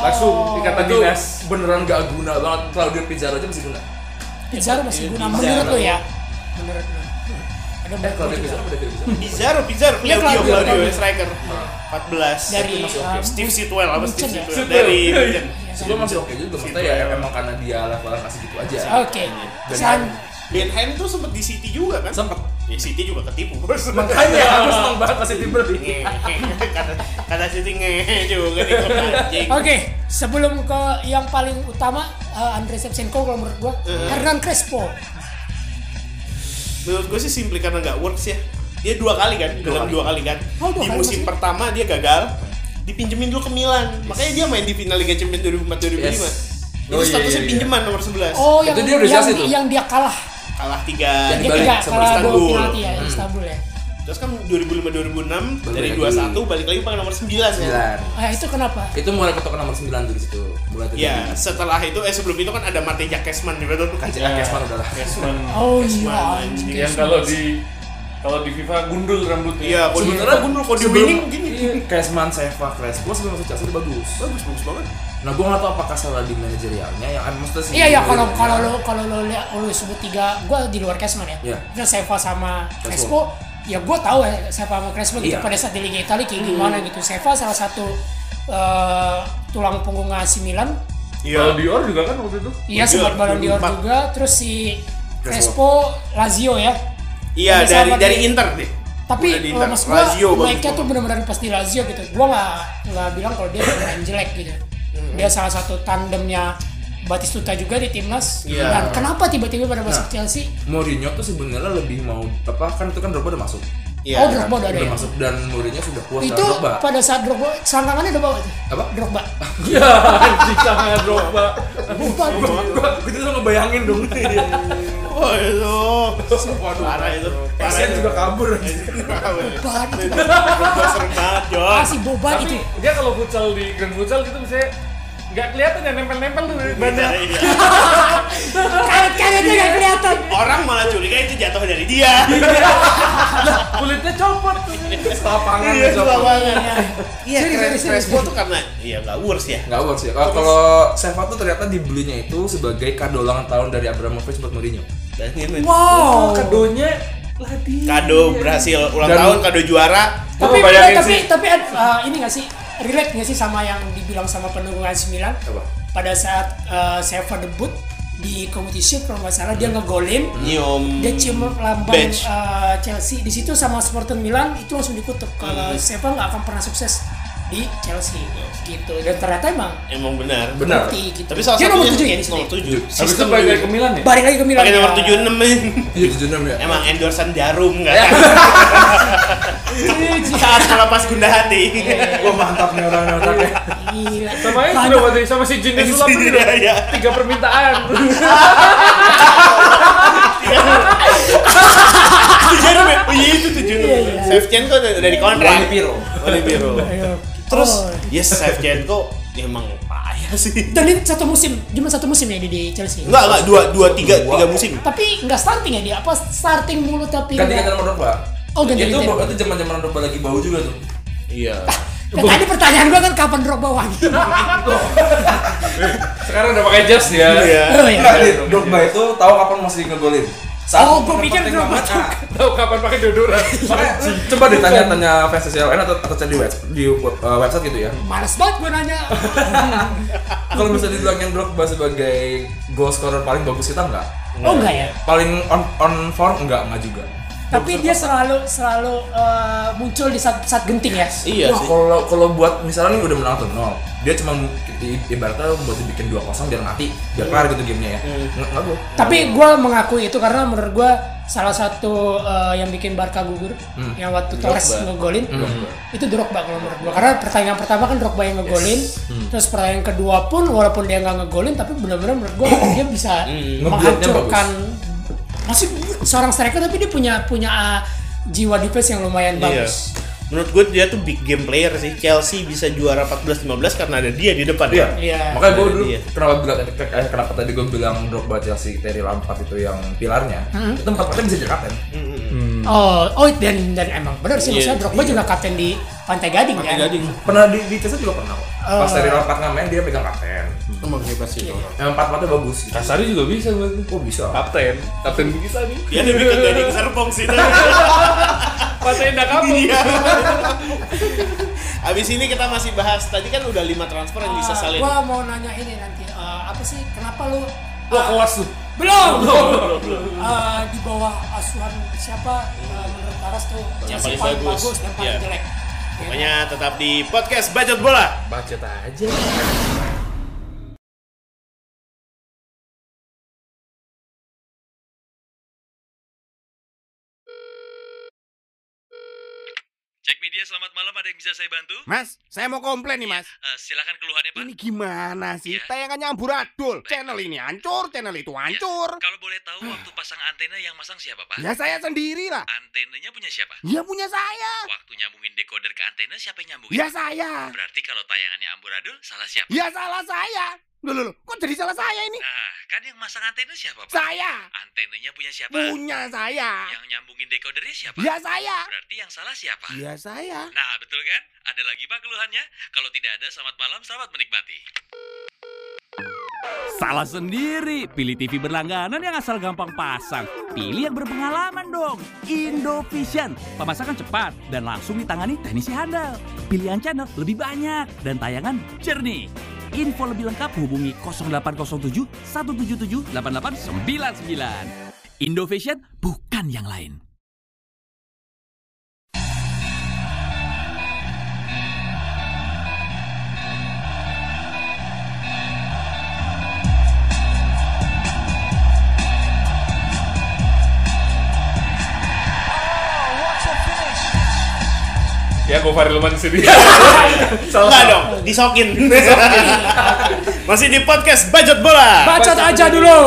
Langsung
Oh.
ikatan
itu
dinas.
beneran gak guna banget kalau dia penjara aja masih guna
Pizarro masih guna
Pizarro.
menurut lo ya. Menurut lo. Ada
eh kalau dia
banyak
penjara udah tidak bisa
Pizarro, Pizarro,
Iya,
Claudio,
Claudio,
Claudio,
Claudio.
striker. 14
dari um,
Steve Sitwell apa Steve
Munchen ya?
Sitwell
Sitwell.
dari
Iya,
Munchen.
sebelum masih oke juga maksudnya ya emang karena dia levelnya kasih gitu aja
Oke. Selan
Benham tuh sempet di City juga kan?
sempet
Ya City juga ketipu bos.
makanya aku seneng banget masih timbel
kata kata Siti ngehe juga nih klub anjing.
Oke, sebelum ke yang paling utama uh, Andre Shevchenko kalau menurut gua Hernan Crespo.
Menurut gue sih simply karena nggak works ya. Dia dua kali kan, dalam dua kali kan.
Oh, dua
Di
kali
musim
maksudnya?
pertama dia gagal, dipinjemin dulu ke Milan. Makanya dia main di final Liga Champions 2004 2005.
Yes.
Itu
Oh, iya,
statusnya
iya, iya.
pinjeman nomor 11.
Oh, yang
Itu dia udah
yang,
jelasin tuh.
yang dia kalah.
Kalah 3
Yang
Dia
Dibalik
tiga
sama Hmm.
kalah
Istanbul.
gol penalti ya Istanbul ya.
Terus kan 2005 2006
Balik
dari
lagi.
21 balik lagi pakai nomor 9 ya.
sembilan
Ah, itu kenapa?
itu mulai ketok nomor 9 tuh di situ mulai
Ya,
terjadi.
setelah itu eh sebelum itu kan ada matinya Cashman ya betul bukan?
Kajian Kesman udahlah.
Cashman.
Oh
Cashman,
iya.
anjing.
yang kalau di kalau di FIFA gundul rambutnya.
Iya, kalau di-
Sebenarnya gue dulu kalau di
sebelum-
winning gini Cashman, Seva, Crespo sebelum masuk Chelsea dia bagus Bagus, bagus banget Nah gue nggak tahu apakah salah di manajerialnya yang I'm maksudnya sih
Iya iya kalau
manajerialnya.
kalau lo kalau lo lihat lo sebut tiga, gua di luar Cashman ya.
Iya.
Terus Seva sama
Crespo.
Crespo, ya gua tahu ya Seva sama Crespo gitu
Iya.
pada saat di Liga Italia kayak gimana gitu. Seva salah satu eh, tulang punggung AC Milan.
Iya.
Kalau Dior juga kan waktu itu.
Iya sempat Ballon d'Or
2004.
juga. Terus si
Crespo.
Crespo Lazio ya.
Iya, dari
Ada sahabat
dari
di-
Inter deh.
Tapi
Udah di
eh,
Inter.
mas gua
Lazio bagus
naiknya
banget.
tuh benar-benar pasti Lazio gitu. Gua nggak nggak bilang kalau dia beneran jelek gitu. Dia salah satu tandemnya Batistuta juga di timnas.
Iya.
Dan kenapa tiba-tiba pada masuk Chelsea?
Mourinho tuh sebenarnya lebih mau apa kan itu kan Drogba udah masuk
Iya.
oh Drogba udah ada
udah
ya?
masuk dan Mourinho sudah puas
Itu
sama Drogba
pada saat Drogba, selangkangannya udah bawa tuh?
apa
Drogba.
Iya, anjing sama Drogba.
Bukan.
gue itu tuh ngebayangin dong
Oh, itu.
waduh
Parah itu. Parah
Kasian
itu.
juga kabur
Boban itu.
Drogba serem banget, Jos.
Masih Boban
Tapi
itu.
dia kalau futsal di Grand Futsal gitu misalnya nggak kelihatan ya nempel-nempel tuh di badan.
Iya.
Kan, Karet-karetnya nggak kelihatan.
Orang malah curiga itu jatuh dari dia.
Kulitnya copot tuh.
Setapangan
Iya,
besok.
susah banget. Iya, keren
Serius, serius,
Crespo
serius.
tuh karena iya nggak worse ya.
Nggak worth ya. Kalau- Kalau Seva tuh ternyata dibelinya itu sebagai kado ulang tahun dari Abramovich buat Mourinho.
Dan ini
Wow.
Oh, Kadonya ladi.
kado berhasil ulang
Dan-
tahun, kado juara.
Gua
Tapi
ngebayangin
eh, tapi
sih.
tapi eh, ini nggak sih relate nggak sih sama yang dibilang sama pendukung AC Milan?
Apa?
Pada saat eh, Seva debut di kompetisi kalau nggak salah dia
Hmm.
ngegolin
Nyium
dia cium lambang
badge.
eh, Chelsea di situ sama supporter Milan itu langsung dikutuk
Hmm.
kalau Seva nggak akan pernah sukses di Chelsea gitu dan ternyata emang
Emang Iya. benar.
Benar.
bukti gitu
Tapi salah
dia nomor
satunya-
tujuh ya di sini
Nomor 7.
Habis itu balik lagi ke Milan ya?
balik lagi ke Milan
Pakai nomor
ya.
76 men.
Iya, tujuh enam ya.
Emang endorsean jarum enggak kan? Saat melepas gundah hati.
Wah mantap nih orang otaknya.
Gila.
Sama itu
Banyak.
udah waktu- sama si Jin Sulap itu
Iya, iya.
tiga permintaan.
Tujuh enam ya? Oh iya itu tujuh enam. Shevchenko udah udah dikontrak.
Wani Piro.
Iya,
Wani Piro. Terus ya,
Oh.
yes Shevchenko ya, emang payah sih.
dan ini satu musim cuma satu musim ya di, di Chelsea
Enggak enggak dua dua tiga tiga musim.
tapi nggak starting ya dia apa starting mulu tapi
Ganti ganti
nggak-
nomor Drogba.
Oh, ganti
Itu
ganti.
itu zaman zaman Drogba lagi bau juga tuh.
Iya.
Dan Ya, tadi pertanyaan gua kan kapan Drogba wangi
Sekarang udah pakai jas ya.
Iya.
oh,
Enggak,
ya.
Dit. Drogba itu tahu kapan mesti ngegolin. Saat
Oh, gua
momen
pikir
penting
Drogba
banget.
juga.
Ah,
Tahu kapan pakai deodoran?
Makanya eh, coba deh tanya-tanya fans CLN atau atau cari di webs- di uh, website gitu ya.
males banget gua nanya
Kalau misalnya dibilang yang Drogba sebagai goal scorer paling bagus kita enggak?
oh enggak ya
Paling on on form enggak enggak juga.
tapi dia selalu selalu eh, muncul di saat saat genting ya
Iya
Wah,
sih.
kalau kalau buat misalnya nih udah menang tuh 0 dia cuma i- ibaratnya buat dibikin 2-0 biar mati, biar kelar gitu gamenya ya. Nggak nggak gua.
tapi gua mengakui itu karena menurut gua salah satu eh, yang bikin Barca gugur yang waktu Torres ngegolin itu Drogba kalau menurut gua karena pertandingan pertama kan Drogba yang ngegolin terus pertandingan kedua pun walaupun dia nggak ngegolin tapi benar-benar menurut gua dia bisa
Ngebuatnya
menghancurkan masih seorang striker tapi dia punya punya eh, jiwa defense yang lumayan
Iya.
bagus
Menurut gue dia tuh big game player sih. Chelsea bisa juara 14-15 karena ada dia di depan ya.
Iya.
Makanya gue
Dari
dulu
dia.
kenapa bilang eh, kenapa tadi gue bilang Drogba Chelsea Terry Lampard itu yang pilarnya. Itu empat partai bisa jadi kapten.
oh oh dan dan emang benar
Iya,
sih maksudnya Drogba juga kapten di Pantai Gading kan
Pernah di, di Chelsea juga pernah kok. Pas Terry Lampard nggak main dia pegang kapten.
Emang hebat sih.
Emang empat partnya bagus. gitu.
Kasari juga bisa buat
Oh bisa.
Kapten, kapten bisa nih.
Iya, Dia lebih ke gading serpong sih. tapi.
Kapten dak kamu.
Iya. Abis ini kita masih bahas. Tadi kan udah 5 transfer yang disesalin.
Ah, Gua mau nanya ini nanti eh, apa sih kenapa lu ah,
Lo kewas tuh.
belum Eh, di bawah asuhan siapa eh, menurut Aras tuh
paling
Chelsea paling
bagus.
bagus, dan paling
Iya.
jelek
Pokoknya tetap di podcast Bacot Bola.
Bacet aja.
Check media. Iya, selamat malam. Ada yang bisa saya bantu?
Mas, saya mau komplain nih mas.
Eh, silakan keluhannya, Pak.
Ini gimana sih?
Iya.
Tayangannya amburadul. Channel ini hancur, channel itu
Ya,
hancur.
Kalau boleh tahu waktu pasang antena yang masang siapa, Pak?
Ya saya sendiri lah.
Antenanya punya siapa?
Ya punya saya.
Waktu nyambungin decoder ke antena siapa yang nyambungin?
Ya saya.
Berarti kalau tayangannya amburadul salah siapa?
Ya salah saya. Loh, loh, loh, kok jadi salah saya ini?
Ah, kan yang masang antena siapa, Pak?
Saya.
Antenanya punya siapa?
Punya saya.
Yang nyambungin decodernya siapa?
Ya saya.
Berarti yang salah siapa?
Ya saya.
Nah, betul kan? Ada lagi Pak keluhannya? Kalau tidak ada, selamat malam, selamat menikmati.
Salah sendiri, pilih TV berlangganan yang asal gampang pasang. Pilih yang berpengalaman dong, Indovision. Pemasakan cepat dan langsung ditangani teknisi handal. Pilihan channel lebih banyak dan tayangan jernih. Info lebih lengkap hubungi 0807 177 8899. Indovision bukan yang lain.
Ya gue Farilman di sini. Oh.
Enggak dong, disokin. Masih di podcast Bacot Bola.
Bacot aja dulu.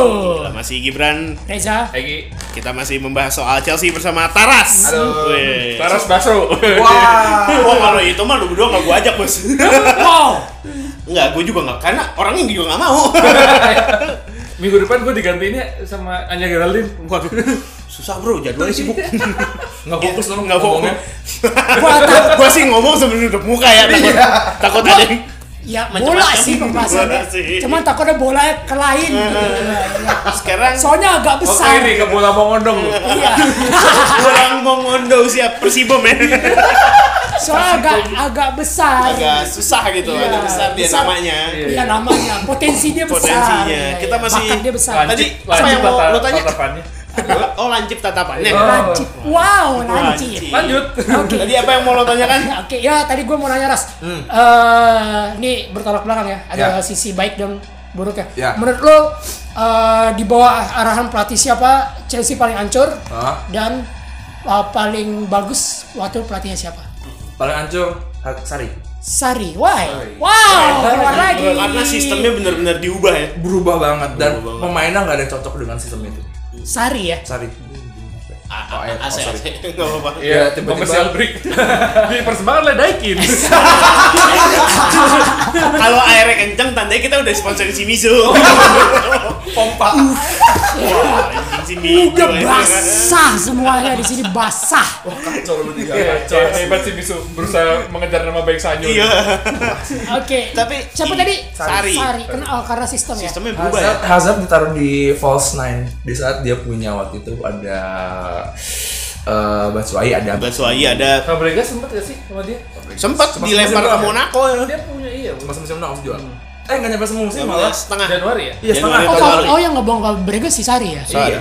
Masih Gibran,
Reza.
Egi.
kita masih membahas soal Chelsea bersama Taras.
Halo.
Weh.
Taras Baso.
Wah.
Wah, kalau itu mah lu berdua gak gua ajak, Bos.
Wow.
Enggak, gua juga gak karena orangnya juga gak mau.
Minggu depan gue digantiinnya sama Anya Geraldine.
Waduh. Susah, Bro, jadwalnya sibuk.
Nggak fokus dong
Nggak fokus.
ngomongnya.
gua, gua sih ngomong sebelum tutup muka ya, takut,
Iya.
takut ada yang
Ya,
Macam-macam.
bola sih pembahasannya.
Bola sih. Eh,
Cuman takutnya bolanya ke lain.
sekarang
Soalnya agak
Oh,
besar. Iya.
ini ke bola mau ngondong lu.
kurang mengondo siap Persibom ya.
Iya.
Soalnya agak agak besar.
Agak susah gitu,
Iya,
ada besar dia
besar.
namanya.
Iya namanya. Potensinya besar.
Potensinya.
Iya,
Kita
iya.
masih-
Bakat dia besar.
Lanjut. Tadi, apa yang mau
tata-
lu tanya?
tatapannya.
Oh, lancip tatapannya.
Oh.
Lancip. Wow, lancip.
Lanjut.
Tadi apa yang mau lo tanyakan?
Ya, Oke, ya tadi gue mau nanya Ras. Eh, ini bertolak belakang ya. Ada
Ya.
sisi baik dan buruknya.
Ya.
Menurut lo eh, di bawah arahan pelatih siapa Chelsea paling hancur
Hah?
dan eh, paling bagus waktu pelatihnya siapa?
Paling hancur Har- Sari.
Sari. Why? Wow, keluar lagi.
Karena sistemnya benar-benar diubah ya.
Berubah banget dan pemainnya nggak ada yang cocok dengan sistem itu.
Sari ya.
Sari. Oh, eh, oh,
AC,
sorry.
AC. Nggak apa-apa.
Ya,
Iya,
tiba-tiba-
komersial break. Di persembahan ledaikin.
Kalau airnya kenceng, tandanya kita udah sponsorin si Mizu.
Pompa.
Wah, anjing si Mizu.
Udah
ya, kan?
basah semuanya di sini basah.
Kacau lu bertiga.
Kacau, Iya, hebat sih bisu berusaha mengejar nama baik Sanyo.
Iya.
Oke.
Tapi
siapa
i-
tadi?
Sari.
Sari. Karena oh, karena sistem ya.
Sistemnya berubah ya.
Hazard, Hazard ditaruh di false nine di saat dia punya waktu itu ada eh Batshuayi ada
Batshuayi ada
Fabregas sempet gak sih sama dia?
sempat
Sempat
dilempar ke
sempat
Hmm.
ya.
Monaco ya.
Dia punya iya.
cuma semusim doang sejual eh nggak nyampe semusim malah
setengah.
Januari ya?
iya setengah
Januari
Oh,
tahun
kalau-
lalu.
oh yang ngebongkar Brega si Sari ya.
Sari.
iya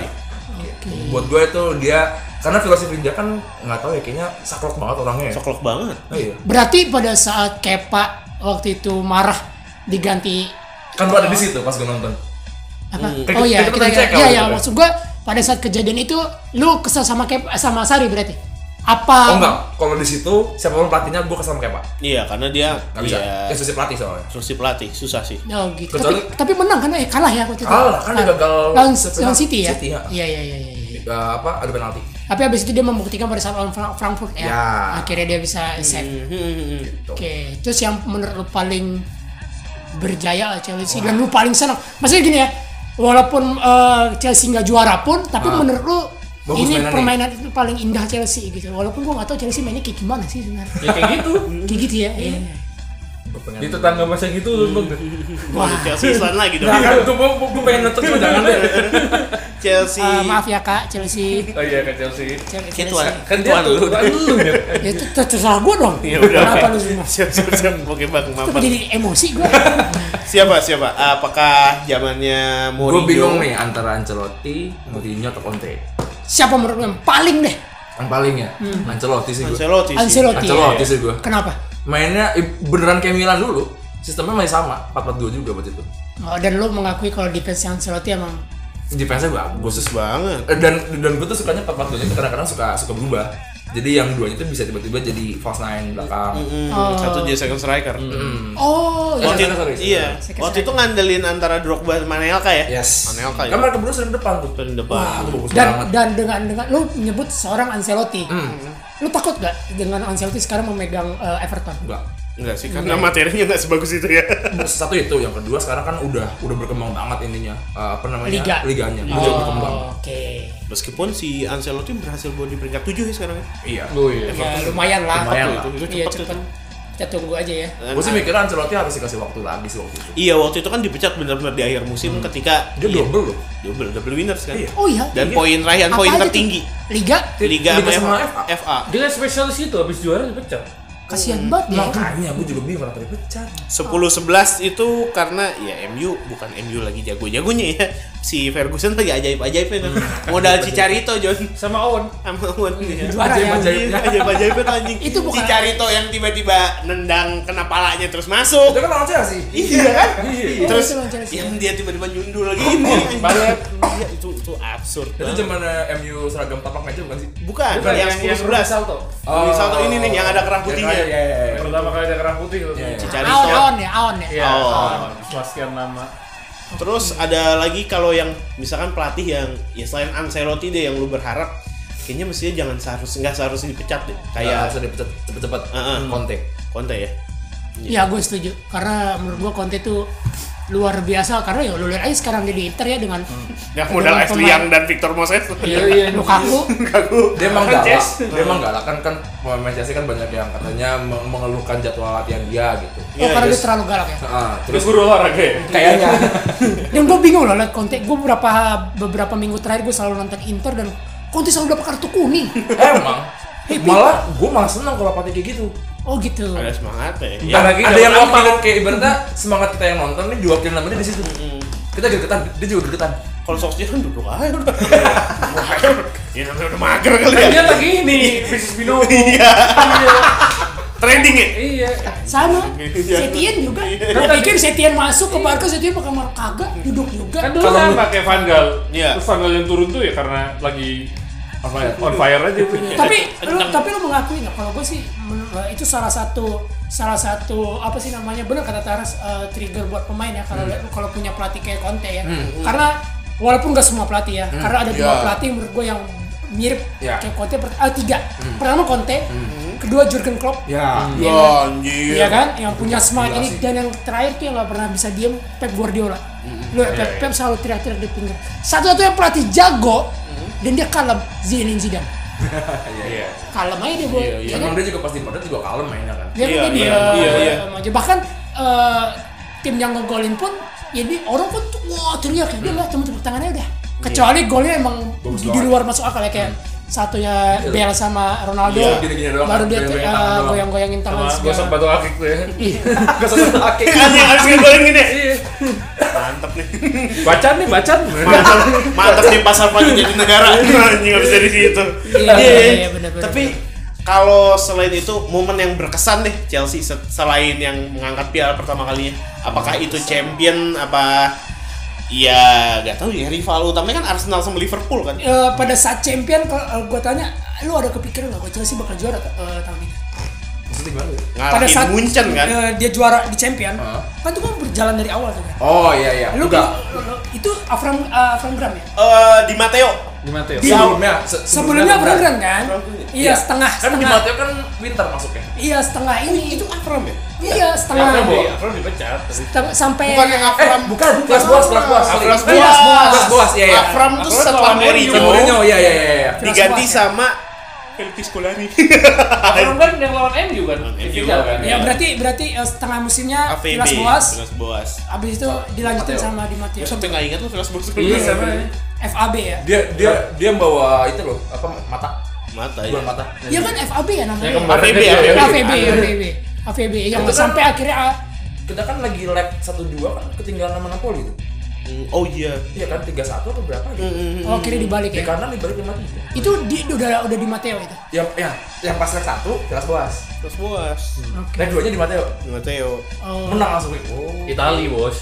buat gue itu dia karena filosofi dia kan nggak tahu ya kayaknya saklek banget orangnya ya.
Soklok banget.
Oh, iya
Berarti pada saat Kepa waktu itu marah diganti
kan lu ada di situ pas gue nonton
apa?
Kayak
Oh iya,
Hmm. kita
kita
pernah cek
Iya,
kalau
iya,
gitu.
maksud gua pada saat kejadian itu lu kesel sama Kepa sama Sari berarti.
Ah.
Apa?
oh enggak kalau di situ siapapun pelatihnya gue kesel sama kayak pak
Iya, karena dia
nggak bisa
iya,
ya sisi pelatih soalnya
instruksi pelatih susah sih.
Oh, gitu.
Kecuali-
tapi, tapi menang kan eh kalah ya waktu itu.
Kalah, kan dia gagal
lawan,
sepenal-
lawan City ya.
City, ya.
Iya, iya, iya, iya.
Eh, apa ada penalti
Tapi habis itu dia membuktikan pada saat lawan Fra- Frankfurt ya.
Ya. Hmm. Gitu.
Akhirnya dia bisa save. Oke, terus yang menurut lu paling berjaya lah Chelsea dan lu paling senang. Maksudnya gini ya, walaupun eh, Chelsea nggak juara pun, tapi
Ah.
menurut lu
Bagus
ini
mainannya.
permainan itu paling indah Chelsea gitu. Walaupun gua nggak tahu Chelsea mainnya kayak gimana sih sebenarnya.
Ya kayak gitu.
kayak gitu ya. iya.
gue
Di
pengen
tetangga masa gitu lu bang.
Wah, Chelsea Island lagi dong.
Nah, kan tuh gue gue pengen nonton cuma jangan deh
Chelsea.
Eh, maaf ya Kak, Chelsea.
Oh iya kan Chelsea.
Chelsea.
Kan dia tuh, bukan lu. Nyet.
Ya itu ter- terserah gua dong.
Ya
Iya,
udah.
Kenapa lu
oke.
semua?
Siap, siap, siap. Oke, Bang. maaf,
Kenapa
Bang.
jadi emosi gua?
Siapa, siapa? Apakah zamannya
gue
Mourinho?
bingung nih antara Ancelotti Mourinho atau Conte
Siapa menurut lu yang paling deh?
yang paling ya Ancelotti sih gue
Ancelotti sih.
Ancelotti.
Ancelotti sih gue
Kenapa?
mainnya eh, beneran kayak Milan dulu sistemnya masih sama 4-4-2 juga waktu itu
Oh, dan lu mengakui kalau defense yang Ancelotti emang
defense-nya bagus
Bagus banget.
Eh, dan dan gue tuh sukanya 4-4-2 nya kadang-kadang suka suka berubah Jadi yang duanya itu bisa tiba-tiba jadi false nine belakang.
Mm-mm. Oh. Satu jadi second striker.
Oh,
Waktu,
iya. Sorry, sorry, sorry.
iya.
Second
Waktu itu ngandelin antara Drogba dan Manelka ya?
Yes.
Manelka ya.
Kan mereka berdua sering depan tuh.
Sering depan.
Wah, itu bagus
dan
banget. Hmm.
dan dengan dengan lu menyebut seorang Ancelotti. Lu takut gak dengan Ancelotti sekarang memegang eh, Everton?
Enggak.
Enggak sih, karena materinya nggak sebagus itu ya.
Satu itu, yang kedua sekarang kan udah udah berkembang banget ininya. eh, apa namanya?
Liga.
Liganya.
Oh,
Udah berkembang.
Oke.
Meskipun si Ancelotti berhasil buat di peringkat 7 ya sekarang ya.
Iya.
Oh iya.
Ya, lumayan lah.
Lumayan
Itu, itu
lah.
Iya,
cepet itu. Nah,
cepet. Kita tunggu aja ya.
Gue sih mikir Ancelotti harus dikasih waktu lagi sih waktu itu.
Iya, waktu itu kan dipecat benar-benar di akhir musim ketika
Hmm. Dia
iya,
double loh.
double double winners kan.
Iya.
Oh iya.
Dan poin Ryan
Apa
poin
aja tuh?
tertinggi
Liga
Liga,
Liga
sama
sama
FA. FA.
Dia kan spesialis itu habis juara dipecat.
kasihan
Hmm.
banget ya.
Makanya gue juga bingung kenapa dipecat.
10-11 itu karena ya MU bukan MU lagi jago-jagonya ya. Si Ferguson lagi ajaib-ajaibnya kan. Modal Cicarito John
Sama Owen.
sama Owen ya.
Juara ya.
Ajaib-ajaibnya ajaib-ajaibnya tuh anjing.
Itu bukan-
Cicarito yang tiba-tiba nendang kena palanya terus masuk.
Itu kan lawan Chelsea.
Iya kan?
Oh,
Terus ya,
itu lawan Chelsea.
yang dia tiba-tiba nyundul gini. Banget. Iya itu itu absurd.
Itu
banget.
zaman MU seragam tapak meja bukan sih?
Bukan,
Bukan,
yang
yang- yang
10 11
Salto.
Oh. Salto ini nih yang ada kerah
Yang
putihnya.
ada- Iya, iya, iya.
Pertama kali ada kerah putih gitu.
Iya, iya.
Aon,
Cicarito.
aon ya, aon ya.
Iya.
Aon.
Swastian nama.
Terus ada lagi kalau yang misalkan pelatih yang ya selain Ancelotti deh yang lu berharap kayaknya mestinya jangan seharus nggak seharusnya dipecat deh
Kayak
kayak
harus dipecat cepet-cepet.
Heeh.
Kontek.
Conte ya.
Iya, gue setuju. Karena menurut gue Conte tuh luar biasa karena ya lu lihat aja sekarang dia di Inter ya dengan
Yang
modal Dengan Ashley pemain- Young
dan Victor Moses.
Iya iya.
Lukaku
Dia emang
Kan,
galak,
Jess?
dia emang galak kan kan pemain Chelsea kan banyak yang katanya meng- mengeluhkan jadwal latihan dia gitu.
Oh,
Iya,
karena dia
yes.
terlalu galak ya.
Heeh,
Terus
terus
guru olahraga ya.
kayaknya
Dan gue bingung loh liat Conte. Gue beberapa beberapa minggu terakhir gue selalu nonton Inter dan Conte selalu dapat kartu kuning.
Eh, emang malah gue malah seneng kalau pelatih kayak gitu.
Oh gitu.
Ada semangat ya.
Ya,
Ya,
ada yang
kan.
wakilin kayak ibaratnya semangat kita yang nonton nih diwakilin sama dia di situ. Kita gregetan, dia juga gregetan.
kalau Solskjaer kan duduk aja udah. Ya namanya udah mager kali
Kan Dia
ya.
lagi ini bisnis binomo.
Iya. Trending ya.
Iya.
Sama.
Iya.
Setien juga. Gue pikir Setien masuk ke Barca, Setien pakai kamar kagak, duduk juga.
Kan dulu
Kalau-
sama kayak Van Gaal.
Iya.
Terus Van Gaal yang turun tuh ya karena lagi on fire, on fire aja tuh.
tapi lu tapi lu mengakui nggak kalau gue sih menurut gua itu salah satu salah satu apa sih namanya benar kata Taras eh, trigger buat pemain ya kalau kalau punya pelatih kayak Conte ya karena walaupun nggak semua pelatih ya karena ada dua
Iya.
pelatih menurut gue yang mirip
Iya.
kayak Conte per- ah, tiga pertama Conte kedua Jurgen Klopp
Ya,
Anjir.
Iya kan, yang punya semangat ini dan yang terakhir tuh yang gak pernah bisa diem Pep Guardiola. Lu Pep, Pep selalu teriak-teriak di pinggir. Satu-satunya pelatih jago dan dia kalem, Zinedine Zidane.
Ya,
Iya.
Kalem aja dia boy. Iya kan?
Emang dia juga pasti pada juga kalem mainnya kan.
Dia
Iya,
kan dia
iya, iya, iya.
diam aja. Bahkan eh, tim yang ngegolin pun, jadi orang pun tuh, wah teriak ya. Dia lah cuma tepuk tangannya udah. Kecuali golnya emang
Bagus
di, di
banget.
luar masuk akal ya kayak satunya Bale sama Ronaldo.
Iya,
gini-gini doang,
baru dia
goyang-goyangin
eh,
tangan doang.
goyang-goyangin tangan
Sama gosok
segala.
batu akik tuh ya.
Ih,
Oke, anjing harus ngegolin gini. Mantap ya. nih.
Bacan nih, bacan.
Mantap, mantap di pasar pagi jadi negara. Anjing habis dari situ.
Iya, iya, iya, benar-benar.
Tapi kalau selain itu momen yang berkesan deh Chelsea se- selain yang mengangkat piala pertama kalinya, apakah itu champion apa ya nggak tahu ya rival utamanya kan Arsenal sama Liverpool kan.
Eh, pada saat champion kalau gue tanya lu ada kepikiran nggak kok Chelsea bakal juara eh, tahun ini?
Maksudnya gimana? ya?
Pada
Ngalahin Munchen kan.
Iya.
eh, dia juara di champion,
Heeh.
kan itu kan berjalan dari awal tuh kan.
Oh iya iya.
Lu
Enggak.
lu- itu Avram eh, Avram Graham ya?
Eh, di Mateo.
Gimana tuh? ya?
Sebelumnya, se-
Iya. Sebelumnya Avram Graham kan? Iya
Iya.
setengah
Kan di
setengah.
Mateo kan winter masuknya.
Iya setengah ini itu
Akram ya?
iya setengah
Afram di- Afram dipecat.
Seteng- sampai ya,
Bukan yang Akram.
Eh, bukan, kelas boas, kelas boas. sorry.
Akram
Eh,
Boas.
Kelas boas, iya iya.
Akram tuh
Akram
setelah
lawan
Mourinho
MU.
Mourinho, iya iya iya. iya.
diganti
Boas, ya?
sama Felipe Scolari.
Afram kan yang lawan MU kan.
MU
Dipecat kan.
ya berarti berarti eh, setengah musimnya
AVB.
Vilas Boas,
Vilas Boas.
abis itu dilanjutin
Mateo.
sama di Mateo.
Gue sampai nggak ingat tuh Vilas Boas.
Iya, sama ya.
FAB ya?
Dia dia dia bawa itu loh, apa mata?
Mata ya.
Bukan mata.
Iya kan FAB ya namanya.
Yang kemarin
AVB,
dia-
AVB.
AVB, AVB, AVB yang
Itu kan-
iya. sampai akhirnya ah,
Kita kan lagi lag 1-2 kan ketinggalan sama Napoli gitu.
Hmm, Oh iya.
Iya kan 3-1 atau berapa gitu.
oh, akhirnya dibalik
Di
ya.
kanan dibalik lima tiga.
Itu di, udah udah di Mateo itu.
Yang ya, yang pas lag satu kelas boas.
Vilas Boas.
Lag duanya di Mateo.
Mateo.
Oh,
Menang langsung. Oh.
Itali bos.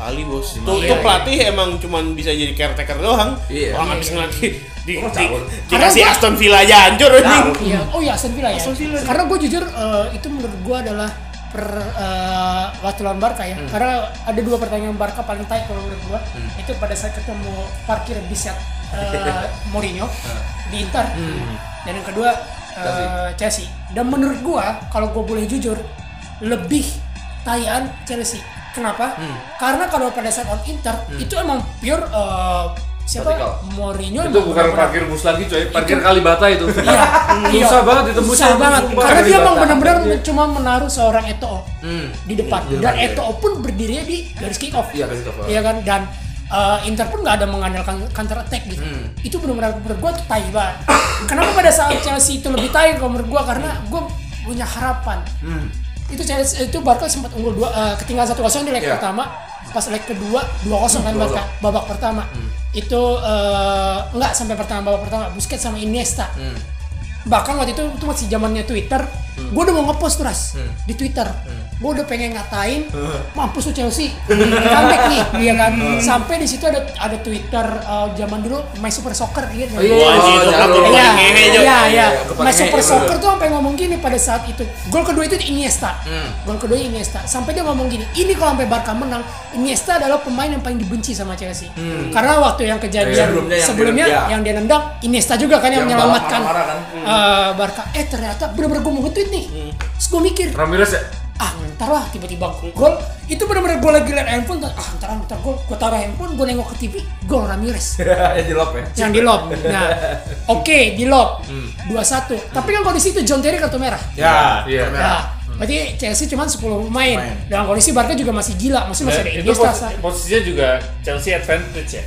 Kali bos.
Lima
Tuh,
kali.
tuh pelatih emang cuman bisa jadi caretaker doang.
Iya.
Orang habis ngelatih di,
Orang
di-
caur.
dikasih
Karena gua-
Aston Villa aja hancur ini.
Iya, oh ya Aston Villa ya. Karena gue jujur eh, itu menurut gue adalah per eh, waktu lawan Barca ya. Karena ada dua pertandingan Barca paling tight kalau menurut gue. Itu pada saat ketemu parkir Bisset eh, Mourinho di Inter. Dan yang kedua eh, Chelsea. Dan menurut gue kalau gue boleh jujur lebih tayaan Chelsea. Kenapa? Karena kalau pada saat on Inter itu emang pure eh, siapa
Vertikal.
Mourinho emang
Itu bukan
benar-benar-
parkir bus lagi coy, parkir Kalibata itu.
Iya, iya.
Susah banget ditembus.
Susah banget. Karena dia emang benar-benar
Iya.
cuma menaruh seorang Eto'o di depan.
Iya,
Dan
iya.
Eto'o pun berdirinya di garis kick off.
Iya, garis kick off.
Iya kan? Dan eh, Inter pun nggak ada mengandalkan counter attack gitu.
Hmm.
Itu benar-benar menurut gua tuh tai banget. Kenapa pada saat Chelsea itu lebih tai kalau menurut gua karena
Hmm.
gua punya harapan. Itu Chelsea itu Barca sempat unggul dua eh, ketinggalan 1-0 di leg
Iya. Hmm,
pertama. Pas leg kedua 2-0 kan Barca babak pertama. Itu eh, nggak sampai pertama babak pertama Busquets sama Iniesta bahkan waktu itu itu masih zamannya Twitter
Hmm.
gue udah mau ngepost turas di Twitter gue udah pengen ngatain
Hmm.
mampus tuh Chelsea comeback nih iya kan sampai di situ ada ada Twitter uh, zaman dulu My Super Soccer gitu
Oh, iya,
Wah, anjing, itu
Oh,
aku
jarum.
paling
Iya,
ngehe, Jo.
iya, iya.
Kepake,
Mas Super
iya,
Soccer
bener.
tuh sampai ngomong gini pada saat itu. Gol kedua itu di Iniesta.
Hmm.
Gol kedua Iniesta. Sampai dia ngomong gini, ini kalau sampai Barca menang, Iniesta adalah pemain yang paling dibenci sama Chelsea. Karena waktu yang kejadian
Hmm. Sebelumnya yang
sebelumnya
dia-
yang dia nendang, Iniesta juga kan yang,
Yang
menyelamatkan
marah-marah kan. Hmm.
eh, Barca. Eh ternyata bener-bener gue mau nge-tweet nih. Terus gue mikir,
Ramirez ya?
ah ntar lah tiba-tiba gol itu benar-benar gue lagi liat handphone ntar, ah ntar ntar gol gue taruh handphone gue nengok ke TV gol Ramirez
ya di lob ya.
yang di lob. Nah, oke di lob dua satu. Tapi kan kondisi itu John Terry kartu merah.
Ya,
Iya.
Nah, berarti Chelsea cuma 10 pemain. Dalam kondisi Barca juga masih gila, masih masih ada
Dan Eh, Itu
Iniesta.
pos-
Sa-
posisinya juga Chelsea advantage ya.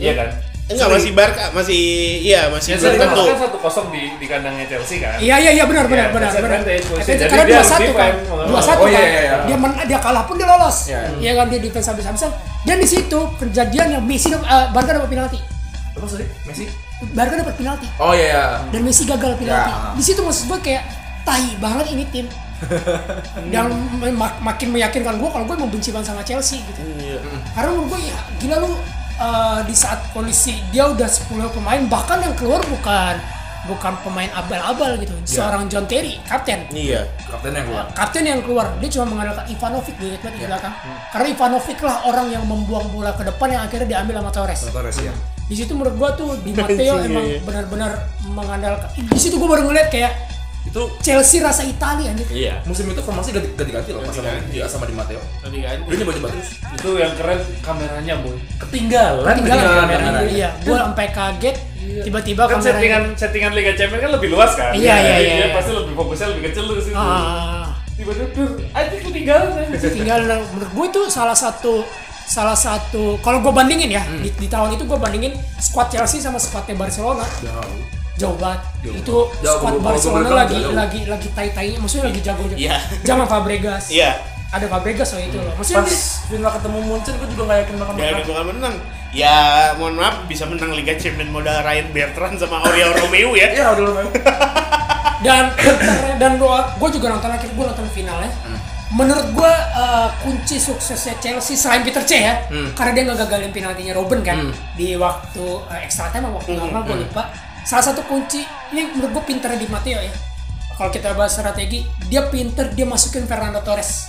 Iya kan?
Enggak masih Barca, masih iya masih
Chelsea
belum
kan
tentu.
satu kosong di di kandangnya Chelsea kan.
Iya iya iya benar benar
Iya,
benar
Chelsea
benar.
advantage posisinya.
Advantage,
Jadi
Karena
dia
dua
harus
satu kan,
defend, mau nggak
dua
mau.
satu
Oh, iya,
kan.
iya, iya.
Dia men- dia kalah pun dia lolos.
Iya, iya.
Iya kan dia defense habis-habisan. Dan di situ kejadian yang Messi dap- eh, Barca dapat penalti.
Apa sih? Messi?
Barca dapat penalti.
Oh iya ya.
dan Messi gagal penalti.
Ya.
Di situ maksud gue kayak tai banget ini tim. dan mak- makin meyakinkan gue kalau gue emang benci banget sama Chelsea gitu. Karena menurut gue ya gila lu uh, di saat kondisi dia udah 10 pemain bahkan yang keluar bukan bukan pemain abal-abal gitu. Seorang John Terry, kapten.
Iya.
Kapten yang keluar.
Kapten yang keluar, dia cuma mengandalkan Ivanovic gue lihat di belakang. Karena Ivanovic lah orang yang membuang bola ke depan yang akhirnya diambil sama Torres
Torres ya.
di situ menurut gua tuh di Matteo
Anjing,
emang
iya, iya.
benar-benar mengandalkan di situ gua baru ngeliat kayak
Itu
Chelsea rasa Italia anjir
Iya.
musim itu formasi ganti- ganti-ganti loh pas sama dia sama di Mateo.
Tadi kan.
Dia nyoba nyoba terus.
Itu yang keren kameranya, Boy.
Nah,
Ketinggalan.
tinggal
Ketinggalan,
kamera
beneran.
iya gua sampai kaget tiba-tiba
kan
kameranya-
settingan settingan Liga Champions kan lebih luas kan.
Iya, iya,
Jadi
iya,
dia
iya.
Pasti lebih fokusnya lebih kecil tuh ke situ.
ah
Tiba-tiba tuh anjing ketinggalan. anjing.
tinggal
Iya.
menurut gue itu salah satu salah satu kalau gue bandingin ya
Hmm.
di, di tahun itu gue bandingin squad Chelsea sama squadnya Barcelona
Jauh.
jauh banget
Jauh.
itu
Jauh,
squad
kalau gua
Barcelona
bilang
lagi
jauh.
lagi lagi tai tainya maksudnya lagi jago jago
Iya.
zaman Fabregas
Iya.
ada Fabregas waktu itu loh maksudnya
Pas final ketemu Munchen gue juga gak yakin bakal
Dia
menang.
bakal menang. Ya, mohon maaf bisa menang Liga Champions modal Ryan Bertrand sama Oriol Romeo ya.
Iya, udah lumayan.
dan dan gua gue juga nonton akhir gue nonton finalnya menurut gue kunci suksesnya Chelsea selain Peter C ya karena dia nggak gagalin penaltinya Robben kan di waktu eh, extra time atau waktu normal gue lupa salah satu kunci ini menurut gue pinter di Matteo ya kalau kita bahas strategi dia pinter dia masukin Fernando Torres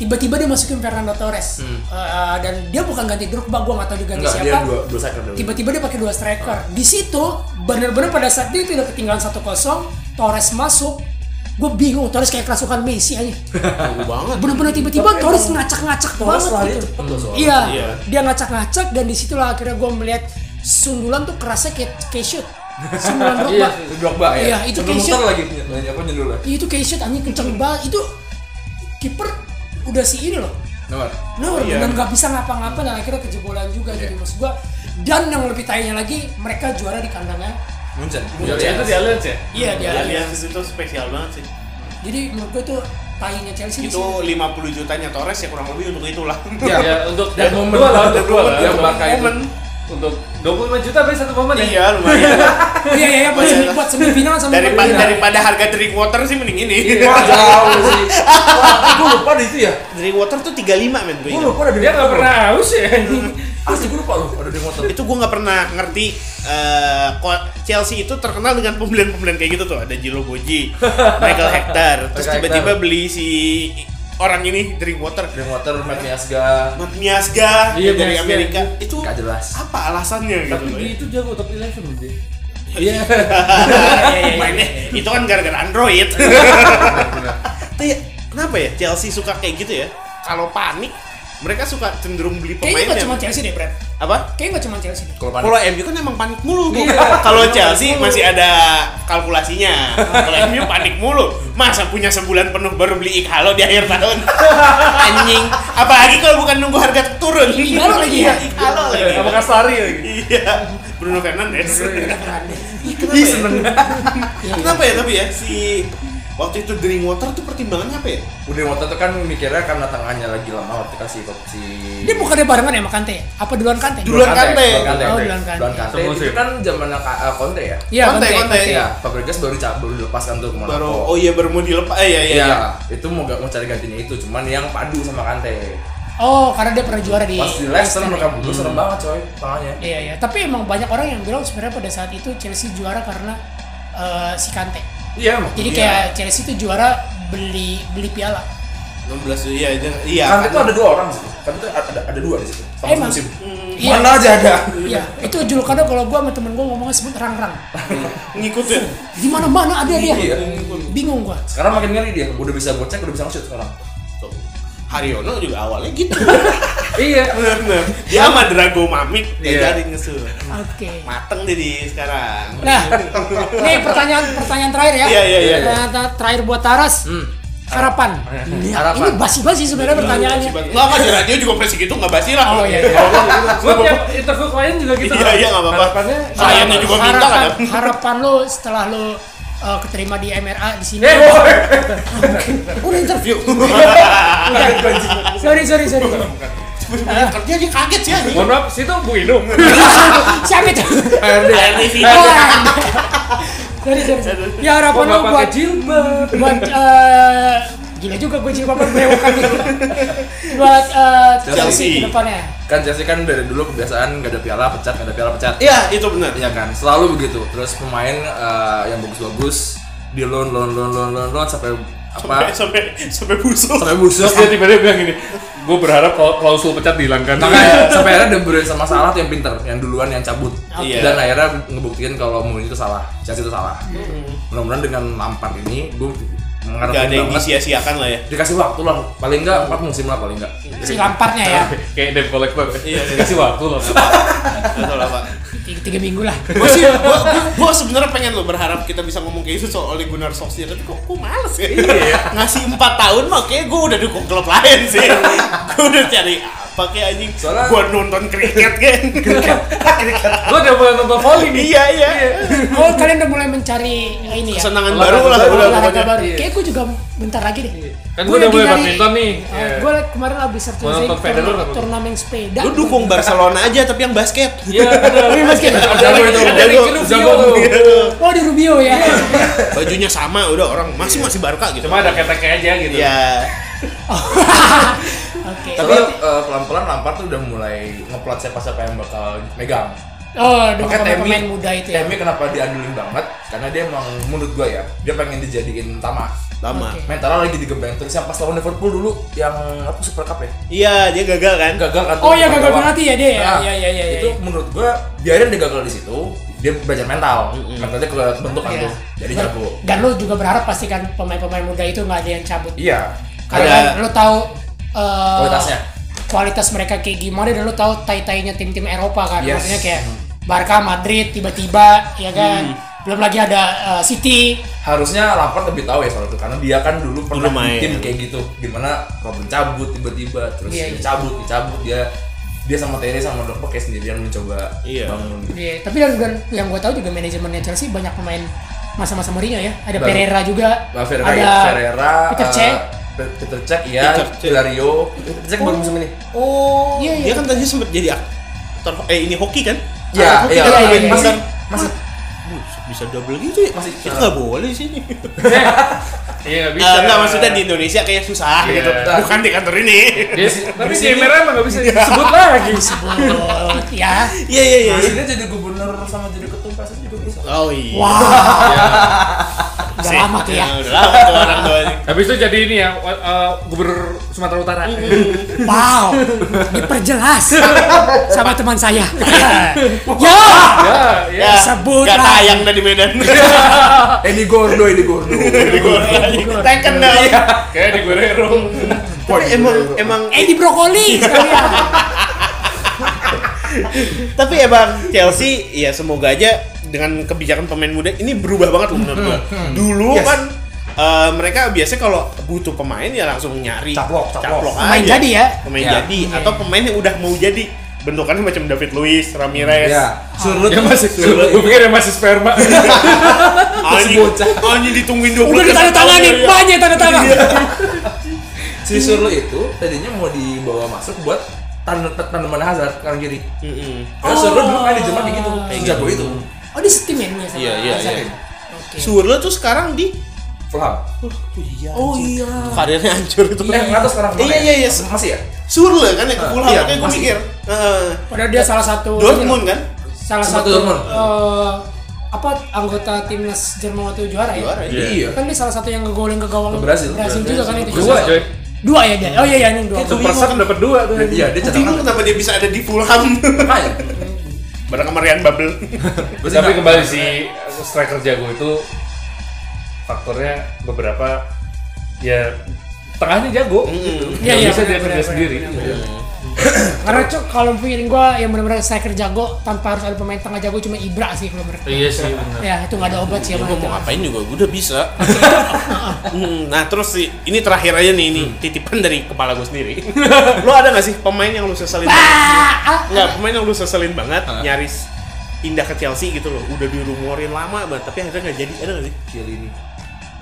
tiba-tiba dia masukin Fernando Torres Eh, dan dia bukan ganti Drogba gue nggak tahu dia ganti
Hmm. Enggak,
siapa
dia dua dua second dulu. Ah.
tiba-tiba dia pakai dua striker. Di situ benar-benar pada saat dia tidak ketinggalan 1-0, Torres masuk. Gue bingung Torres kayak kerasukan Messi aja.
banget.
Benar-benar tiba-tiba Torres ngacak-ngacak
Torres
banget
larinya
gitu.
cepet loh soalnya.
Iya,
Iya.
dia ngacak-ngacak dan disitulah akhirnya gue melihat sundulan tuh kerasa kayak kayak shoot. Sundulan
Iya,
Drogba.
Drogba ya.
Iya, itu
Sebelum
Keisha-
muter lagi punya apa nyundul lah.
Iya, itu kayak shoot anjing kenceng banget. Itu kiper udah si ini loh.
Nomor.
Nur
Iya.
dan nggak bisa ngapa-ngapa dan akhirnya kejebolan juga
Iya.
gitu maksud gue. Dan yang lebih tayangnya lagi mereka juara di kandangnya.
Munchen.
Ya, Itu di Allianz ya.
Iya dia.
Aliansis itu spesial banget sih.
Jadi menurut gue tuh tainya Chelsea di
Itu
sini.
50 jutanya Torres ya kurang lebih untuk itulah.
Ya,
Ya, untuk
dan momen
dua lah, untuk dua lah.
yang Barca itu.
Momen.
untuk 25 juta beli satu momen ya?
Iya, lumayan.
Iya, iya, iya, buat semi- buat semifinal sama
daripada,
quarter final.
daripada harga drink water sih mending ini.
Wah, jauh sih.
gue lupa di itu ya. Drink water tuh 35 men gue.
Gua lupa ada drink Dia nggak water. pernah haus ya, anjing.
Asli gue lupa loh ada drink water. Itu gue nggak pernah ngerti eh, kok Chelsea itu terkenal dengan pembelian-pembelian kayak gitu tuh. Ada Jilo Boji, Michael Hector. Terus
Michael
tiba-tiba
Hector. Iya,
beli si orang ini drink water.
Drink water, Matt Miasga.
Matt Miasga
Iya,
dari
Miasga.
Amerika. Itu
Gak jelas.
apa alasannya gitu
Tapi
loh,
dia
ya?
itu jago top 11 loh dia.
Iya. Mainnya itu kan gara-gara Android. Tapi ya, kenapa ya Chelsea suka kayak gitu ya? Kalau panik mereka suka cenderung beli pemain.
Kayaknya nggak
yang-
cuma Chelsea deh, Brad.
Apa?
Kayaknya nggak cuma Chelsea deh.
Kalau Kalau MU kan emang panik mulu.
Iya.
Kalau
Panik
Chelsea
mulu.
masih ada kalkulasinya. Kalau MU panik mulu. Masa punya sebulan penuh baru beli Ikhalo di akhir tahun. Anjing. Apalagi kalau bukan nunggu harga turun.
Ighalo lagi ya?
Ighalo lagi.
Sama Kastari lagi.
Iya. Bruno Fernandes. Kenapa ya?
Ih, seneng.
Kenapa ya tapi ya si waktu itu drink water tuh pertimbangannya apa ya?
Udah waktu itu kan mikirnya karena tangannya lagi lama waktu kasih si
Dia bukannya barengan ya sama Kante ya? Apa duluan Kante?
Duluan Kante.
Oh, duluan Kante.
Duluan Kante. Itu kan zamannya Ka- eh, Conte ya?
Iya, Conte, Conte. Conte.
Iya, Fabregas baru dicab baru dilepaskan tuh ke Monaco.
Baru oh iya baru mau dilepas. Eh iya iya.
Iya,
iya.
itu mau gak mau cari gantinya itu, cuman yang padu sama Kante.
Oh, karena dia pernah juara di ya.
Pas di Leicester mereka butuh serem banget coy tangannya.
Iya, iya. Tapi emang banyak orang yang bilang sebenarnya pada saat itu Chelsea juara karena eh, si Kante.
Iya,
Jadi
iya.
kayak Chelsea itu juara beli beli piala.
16 iya iya. iya.
Kante itu ada dua orang sih. Kante itu ada ada dua di situ. Sama
Emang.
musim.
Iya.
Mana aja ada.
Iya, itu julukannya kalau gua sama temen gua ngomongnya sebut rang-rang.
Ngikutin.
Di mana-mana ada dia.
Iya.
Bingung gua.
Sekarang makin ngeri dia, udah bisa gocek, udah bisa nge-shoot sekarang.
Haryono juga awalnya gitu.
iya.
Benar. Dia sama Drago Mamik
Iya.
diajarin ngesul.
Oke.
Mateng jadi sekarang.
Nah, ini pertanyaan pertanyaan terakhir ya.
Iya, iya, iya. Hmm.
Pertanyaan terakhir buat Taras. Harapan. Ini-
Harapan. Iya,
Ini basi-basi sebenarnya pertanyaannya.
Enggak apa di radio juga presiden gitu enggak basi lah.
Oh, iya, iya.
Gue tiap interview klien juga gitu.
Iya, iya, nggak apa-apa.
Harapannya
Kliennya juga minta
harapan,
kadang.
harapan lo setelah lo uh, keterima di MRA di sini.
Eh,
oh.
boy.
Udah interview. sorry, sorry, sorry.
Kerja aja kaget sih anjing.
Mohon maaf, situ Bu Inung.
Siapa itu?
HRD.
Iya. Sorry, sorry, sorry. Ya harapan lo
Gua nggak
buat
Iya. pakai jilbab.
buat eh, gila juga gue jilbaban berewokan gitu. buat eh,
Chelsea.
Chelsea ke depannya.
Kan Chelsea kan dari dulu kebiasaan gak ada piala pecat, gak ada piala pecat.
Iya, itu benar.
Iya kan, selalu begitu. Terus pemain eh, yang bagus-bagus di loan, loan, loan, loan, loan, loan sampai
Sampai
apa?
sampai sampai busuk.
Sampai busuk.
Terus dia tiba-tiba bilang gini, gue berharap kalau klausul pecat dihilangkan.
Makanya sampai akhirnya De Bruyne sama Salah tuh yang pinter, yang duluan yang cabut.
Iya.
Dan akhirnya ngebuktiin kalau Mourinho itu salah, Chelsea itu salah.
Hmm.
Mudah-mudahan dengan Lampard ini, gue mengerti
Enggak ada yang
banget.
disia-siakan lah ya.
Dikasih waktu lah, paling enggak 4 musim lah paling enggak.
Si lamparnya ya.
Kayak Dev Collector.
Iya, iya.
Kasih waktu lah.
Betul lah, Pak.
Tiga, tiga minggu lah.
gue sih gue gue sebenarnya pengen lo berharap kita bisa ngomong kayak itu soal Ole Gunnar Solskjaer tapi kok gue males ya
Iya.
ngasih 4 tahun mah kayak gue udah dukung klub lain sih gue udah cari apa kayak anjing
Soalnya-
gue nonton kriket kan
Gue udah mulai nonton volley nih.
iya iya
Oh kalian udah mulai mencari eh, ini ya.
kesenangan
Olahraga
baru lah
baru,
udah
olahraga
pokoknya
baru. Kayak gue juga bentar lagi deh.
Kan
Gua
gua udah
lagi
mulai
nyari-
badminton nih.
Oh,
Iya.
Gua kemarin habis search
Mau nonton
turna-
Federer apa?
turnamen sepeda.
lu dukung Barcelona aja tapi yang basket
Iya, bener.
Ini mas kita.
Jago itu.
Jago,
Dari Kinuvio
jago.
tuh.
Oh di Rubio
Iya.
ya.
Iya.
bajunya sama udah orang masih masih Barca gitu
Cuma ada ketek aja gitu.
ya
Oke.
Tapi eh, pelan-pelan Lampard tuh udah mulai ngeplot siapa-siapa yang bakal megang.
Oh dengan
Makanya Temi,
pemain muda itu ya.
Temi kenapa diandulin banget? Karena dia emang menurut gua ya, dia pengen dijadiin utama.
lama
Oke.
Mentalnya lagi digembleng terus yang pas lawan Liverpool dulu yang apa Super Cup ya?
iya dia gagal kan
Gagal kan?
Oh, iya,
Lawan
gagal
lawan.
penalti ya dia ya?
Nah,
Iya, iya, iya, iya,
Itu
iya.
menurut gua biarin dia gagal di situ, dia belajar mental. Mentalnya keluar bentuk kan
Iya.
tuh. Jadi jago.
Dan lo juga berharap pasti kan pemain-pemain muda itu nggak ada yang cabut.
Iya.
Karena lo tahu eh,
Kualitasnya.
kualitas mereka kayak gimana dan lo tahu tai-tainya tim-tim Eropa kan.
Yes. Hmm.
Maksudnya kayak Barca, Madrid tiba-tiba ya kan. Belum lagi ada eh, City.
harusnya Lampard lebih tahu ya soal itu karena dia kan dulu
Dulu
pernah
main.
di tim kayak gitu dimana Robin cabut tiba-tiba terus
Iya, iya.
dicabut dicabut dia dia sama Terry sama Drogba kayak sendirian mencoba
Iya.
bangun gitu.
Iya, tapi dan, dan yang gue tahu juga manajemennya Chelsea banyak pemain masa-masa Mourinho ya. Ada
Baru.
Pereira juga.
Nah, Ferreira,
ada
Ferreira
Peter
eh,
Cech.
Pe- Peter Cech iya
Peter Cech.
Hilario Peter Cech baru musim ini
oh
Iya, iya.
dia kan tadi sempat jadi ak- Ter eh ini hoki kan?
Ya,
Hoki
iya.
kan?
Iya, iya,
Bukan-
masih- uh,
Buset, bisa double gitu ya? Masih, kita nggak boleh di sini.
Iya
Eh, nggak maksudnya di Indonesia kayak susah
Iya.
gitu. Bukan di kantor ini.
Dia sih- tapi gamer emang nggak bisa disebut lagi.
Sebut ya. Iya iya iya.
Maksudnya jadi gubernur sama jadi ketum PSSI juga bisa.
Oh iya.
Wah.
Iya.
Udah
Sih.
lama tuh ya.
Udah lama tuh orang tua ini.
Habis itu jadi ini ya, wa- eh, gubernur Sumatera Utara.
Wow, diperjelas sama teman saya. ya,
Iya,
Ya,
sebut
Gak
lah.
tayang dari Medan.
Ini Gordo, ini Gordo. Ini Gordo.
Tekken dong.
Iya.
Kayak di Guerrero.
Tapi emang emang
eh di brokoli. sekalian.
Tapi emang Chelsea ya semoga aja dengan kebijakan pemain muda ini berubah banget loh menurut gua. Dulu
Hmm, Yes.
kan eh, mereka biasanya kalau butuh pemain ya langsung nyari
Caplok, caplok.
Pemain
aja.
jadi ya?
Pemain
Ya.
jadi atau pemain yang udah mau jadi. Bentukannya macam David Luiz, Ramirez.
Ya, surut.
Yang masih
surut.
Gue pikir yang masih sperma.
Anjing, anjing ditungguin 20
Udah ditanda tangan
Iya,
nih, banyak tanda tangan.
Si Surlo itu tadinya mau dibawa masuk buat tan- tanaman Hazard kanan kiri. Karena Surlo dulu kan di Jerman kayak gitu, sejago itu.
Oh, di steam ya ini ya
Iya,
sama.
iya, iya.
Hazard ya.
Surlo tuh sekarang di
Fulham.
Oh iya.
karirnya hancur itu.
Eh, nggak tahu sekarang
Iya,
kemana
iya,
ya?
iya.
Masih ya?
Surlo kan yang ke
Ah,
Fulham
iya,
makanya gue
masih.
mikir. Heeh.
Padahal dia salah satu
Dortmund kan?
salah
Sempat
satu
Dortmund.
eh, apa anggota timnas Jerman waktu juara ya?
Juara ya.
Iya.
Kan dia salah satu yang ngegolin ke gawang
Ke Brazil.
juga kan itu.
Dua coy.
Dua ya dia. Oh iya iya ini dua.
Itu
Per sub dapat dua tuh.
Iya, dia
Gue
cadangan.
bingung kenapa dia bisa ada di Fulham.
Makanya.
Barang sama Ryan Babel.
Berarti
Tapi
nggak-
kembali si striker jago itu faktornya beberapa ya tengahnya jago
Hmm.
gitu.
Iya,
Nggak
iya,
bisa dia
benar,
kerja
benar,
sendiri.
Karena cok kalau pikirin gua ya yang benar-benar striker jago tanpa harus ada pemain tengah jago cuma Ibra sih kalau benar.
Iya sih benar.
Ya itu nggak ada obat sih
Ya,
emang
gue
itu.
mau ngapain juga, gue udah bisa. Hmm, nah terus sih, ini terakhir aja nih, ini titipan dari kepala gue sendiri. lo ada gak sih pemain yang lu seselin banget?
Ah,
Nggak, pemain yang lu seselin banget, nyaris pindah ke Chelsea gitu loh. Udah dirumorin lama banget, tapi akhirnya gak jadi. Ada gak sih?
Chiellini.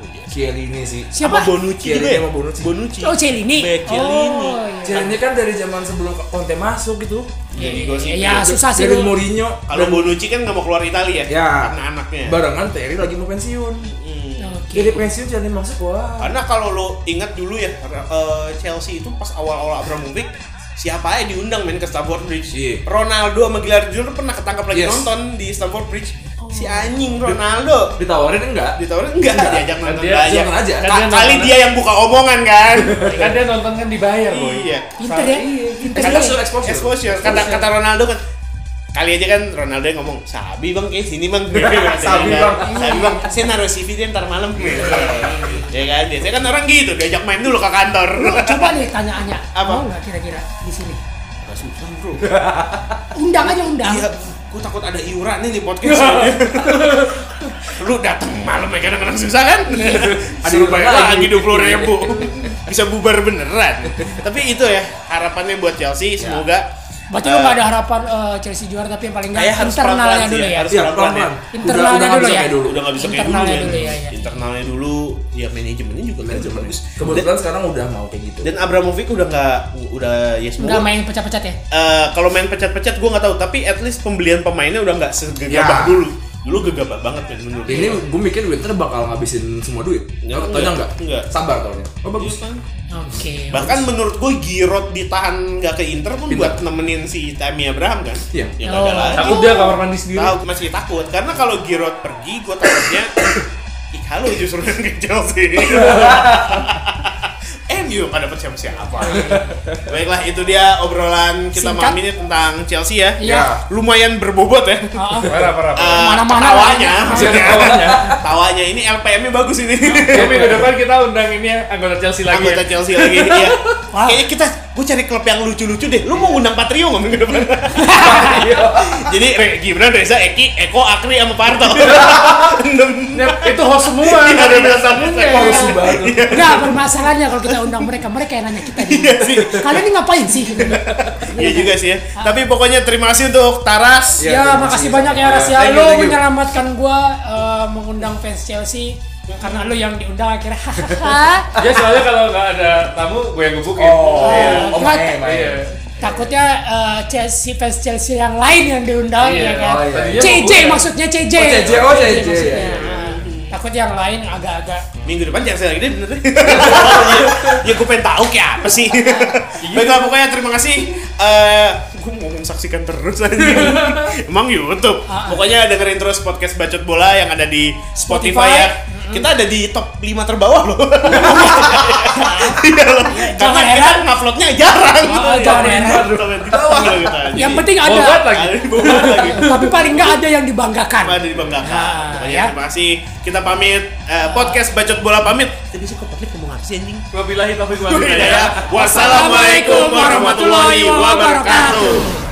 Oh, iya. Chiellini sih.
Apa
siapa?
Bonucci
Chiellini
juga ya?
sama Bonucci.
Bonucci.
Oh Celini.
Back Chiellini.
Oh iya.
Chiellini kan dari zaman sebelum Conte masuk gitu.
Jadi gosip.
Ya susah sih.
Dari
lu.
Mourinho.
Kalau Bonucci kan gak mau keluar Italia ya?
Ya.
Karena anaknya.
Barengan Terry lagi mau pensiun.
Hmm.
Oke.
Jadi pensiun Chiellini masuk wah.
Karena kalau lo ingat dulu ya eh, Chelsea itu pas awal-awal Abramovich siapa aja diundang main ke Stamford Bridge.
Iya.
Ronaldo sama Gilardi Jr pernah ketangkap lagi
Yes.
nonton di Stamford Bridge. Si anjing Ronaldo
Ditawarin enggak?
ditawarin enggak diajak
Kan
nonton
dia
enggak
Jangan
aja.
aja. Oh,
Kan
Ka-
dia
kali
nonton.
dia yang buka omongan kan.
Kan dia nonton kan dibayar, Boy.
iya.
Pinter ya. Pinter
Kan
ya.
sudah exposure.
Exposure. Kata kata Ronaldo kan kali aja kan Ronaldo yang ngomong sabi bang kayak sini bang sabi
Bang.
sabi bang Iya. saya naruh CV dia ntar malam ya kan biasanya kan orang gitu diajak main dulu ke kantor
Lu ya? coba deh tanya Anya.
Apa?
Mau nggak kira-kira di sini? Undang aja undang.
Iya, gue takut ada iuran nih di podcast. lu datang malam ya kadang-kadang susah kan? ada
iuran
bayar
lagi.
lagi dua puluh ribu, bisa bubar beneran. Tapi itu ya harapannya buat Chelsea, semoga.
Berarti lu nggak ada harapan eh, Chelsea juara tapi yang paling nggak
Kayak harus
internalnya
pelan-pelan
dulu
sih ya,
ya.
harus-
Iya, pelan pelan.
Internalnya dulu ya?
dulu.
Udah nggak bisa kayak dulu,
Internalnya
men.
dulu ya, ya.
Internalnya dulu, ya manajemennya juga manajemen bagus. Dan,
Kebetulan sekarang udah mau kayak gitu.
dan Abramovich udah nggak, udah ya
Nggak
semoga.
main pecat-pecat ya.
Eh, kalau main pecat-pecat gue nggak tahu, tapi at least pembelian pemainnya udah nggak segegabah
Ya.
dulu. Dulu gegabah banget men menurut
Ini
gua.
gue mikir Winter bakal ngabisin semua duit.
Enggak,
Tanya enggak?
enggak. Iya, kan?
Sabar tahunnya. Oh bagus.
Oke.
Bahkan menurut gue Giroud ditahan nggak ke Inter pun
Pindah.
buat nemenin si Tammy Abraham kan?
Iya.
Ya nggak ada
Oh.
lagi.
Takut dia kamar mandi sendiri.
Tahu masih takut karena kalau Giroud pergi gue takutnya Ih halo justru yang ke Chelsea. MU nggak dapet siapa-siapa. Baiklah itu dia obrolan kita
Singkat.
malam ini tentang Chelsea ya.
Iya.
Lumayan berbobot ya.
Ah, ah.
Parah, parah.
Eh,
parah.
Mana-mana
tawanya,
lah. ya. Iya,
maksudnya.
Tawanya.
tawanya ini LPM-nya bagus ini.
Jadi minggu depan kita undang ini ya, anggota Chelsea lagi.
anggota
ya.
Chelsea lagi iya kayaknya kita gue cari klub yang lucu-lucu deh lu mau undang Patrio nggak minggu depan
Iya.
jadi Re, Gibran Reza Eki Eko Akri sama Parto
Iya.
enam
Ya, Itu host semua,
Iya,
nggak ada biasa tamunya.
Iya,
Bagus banget.
Nggak permasalahannya kalau kita undang mereka, mereka yang nanya kita.
Ya. Iya sih.
Kalian ini ngapain sih?
iya juga sih ya tapi pokoknya terima kasih untuk Taras
Iya,
Ya,
terima
makasih
kasih.
banyak ya Rasya.
Thank you,
Lo
thank you.
menyelamatkan gua eh, mengundang fans Chelsea karena lo yang diundang akhirnya.
Iya, Ya soalnya kalau nggak ada tamu, gue yang gebukin.
Oh,
Iya.
oh, main, main.
Iya.
Takutnya eh, Chelsea fans Chelsea yang lain yang diundang
Iya,
ya kan.
oh, iya, iya.
CJ
Tadinya mau-
maksudnya CJ.
Oh, CJ, oh, CJ,
maksudnya.
iya,
Takut yang lain agak-agak
Minggu depan jangan saya lagi deh bener deh. ya gue pengen tahu kayak apa sih.
Iya gitu.
Baiklah pokoknya terima kasih. Eh, gue ngomong saksikan terus aja. Emang YouTube.
Ah.
Pokoknya dengerin terus podcast Bacot Bola yang ada di Spotify, ya. Kita ada di top 5 terbawah loh. Iya loh. Karena
Jangan
kita
heran.
nguploadnya jarang.
Oh, jangan heran.
Di bawah loh kita. Jadi-
Iya.
Yang
Oh,
penting ada.
Bobat lagi. Bobat lagi.
Tapi paling nggak ada yang dibanggakan.
Ada di Bangkakan. Pokoknya
ya.
Terima kasih. Kita pamit. Eh, podcast Bacot Bola pamit. Tadi sih kok pamit ngomong apa sih anjing?
Wabillahi taufiq wal
Wassalamualaikum
Wassalamualaikum
warahmatullahi wabarakatuh.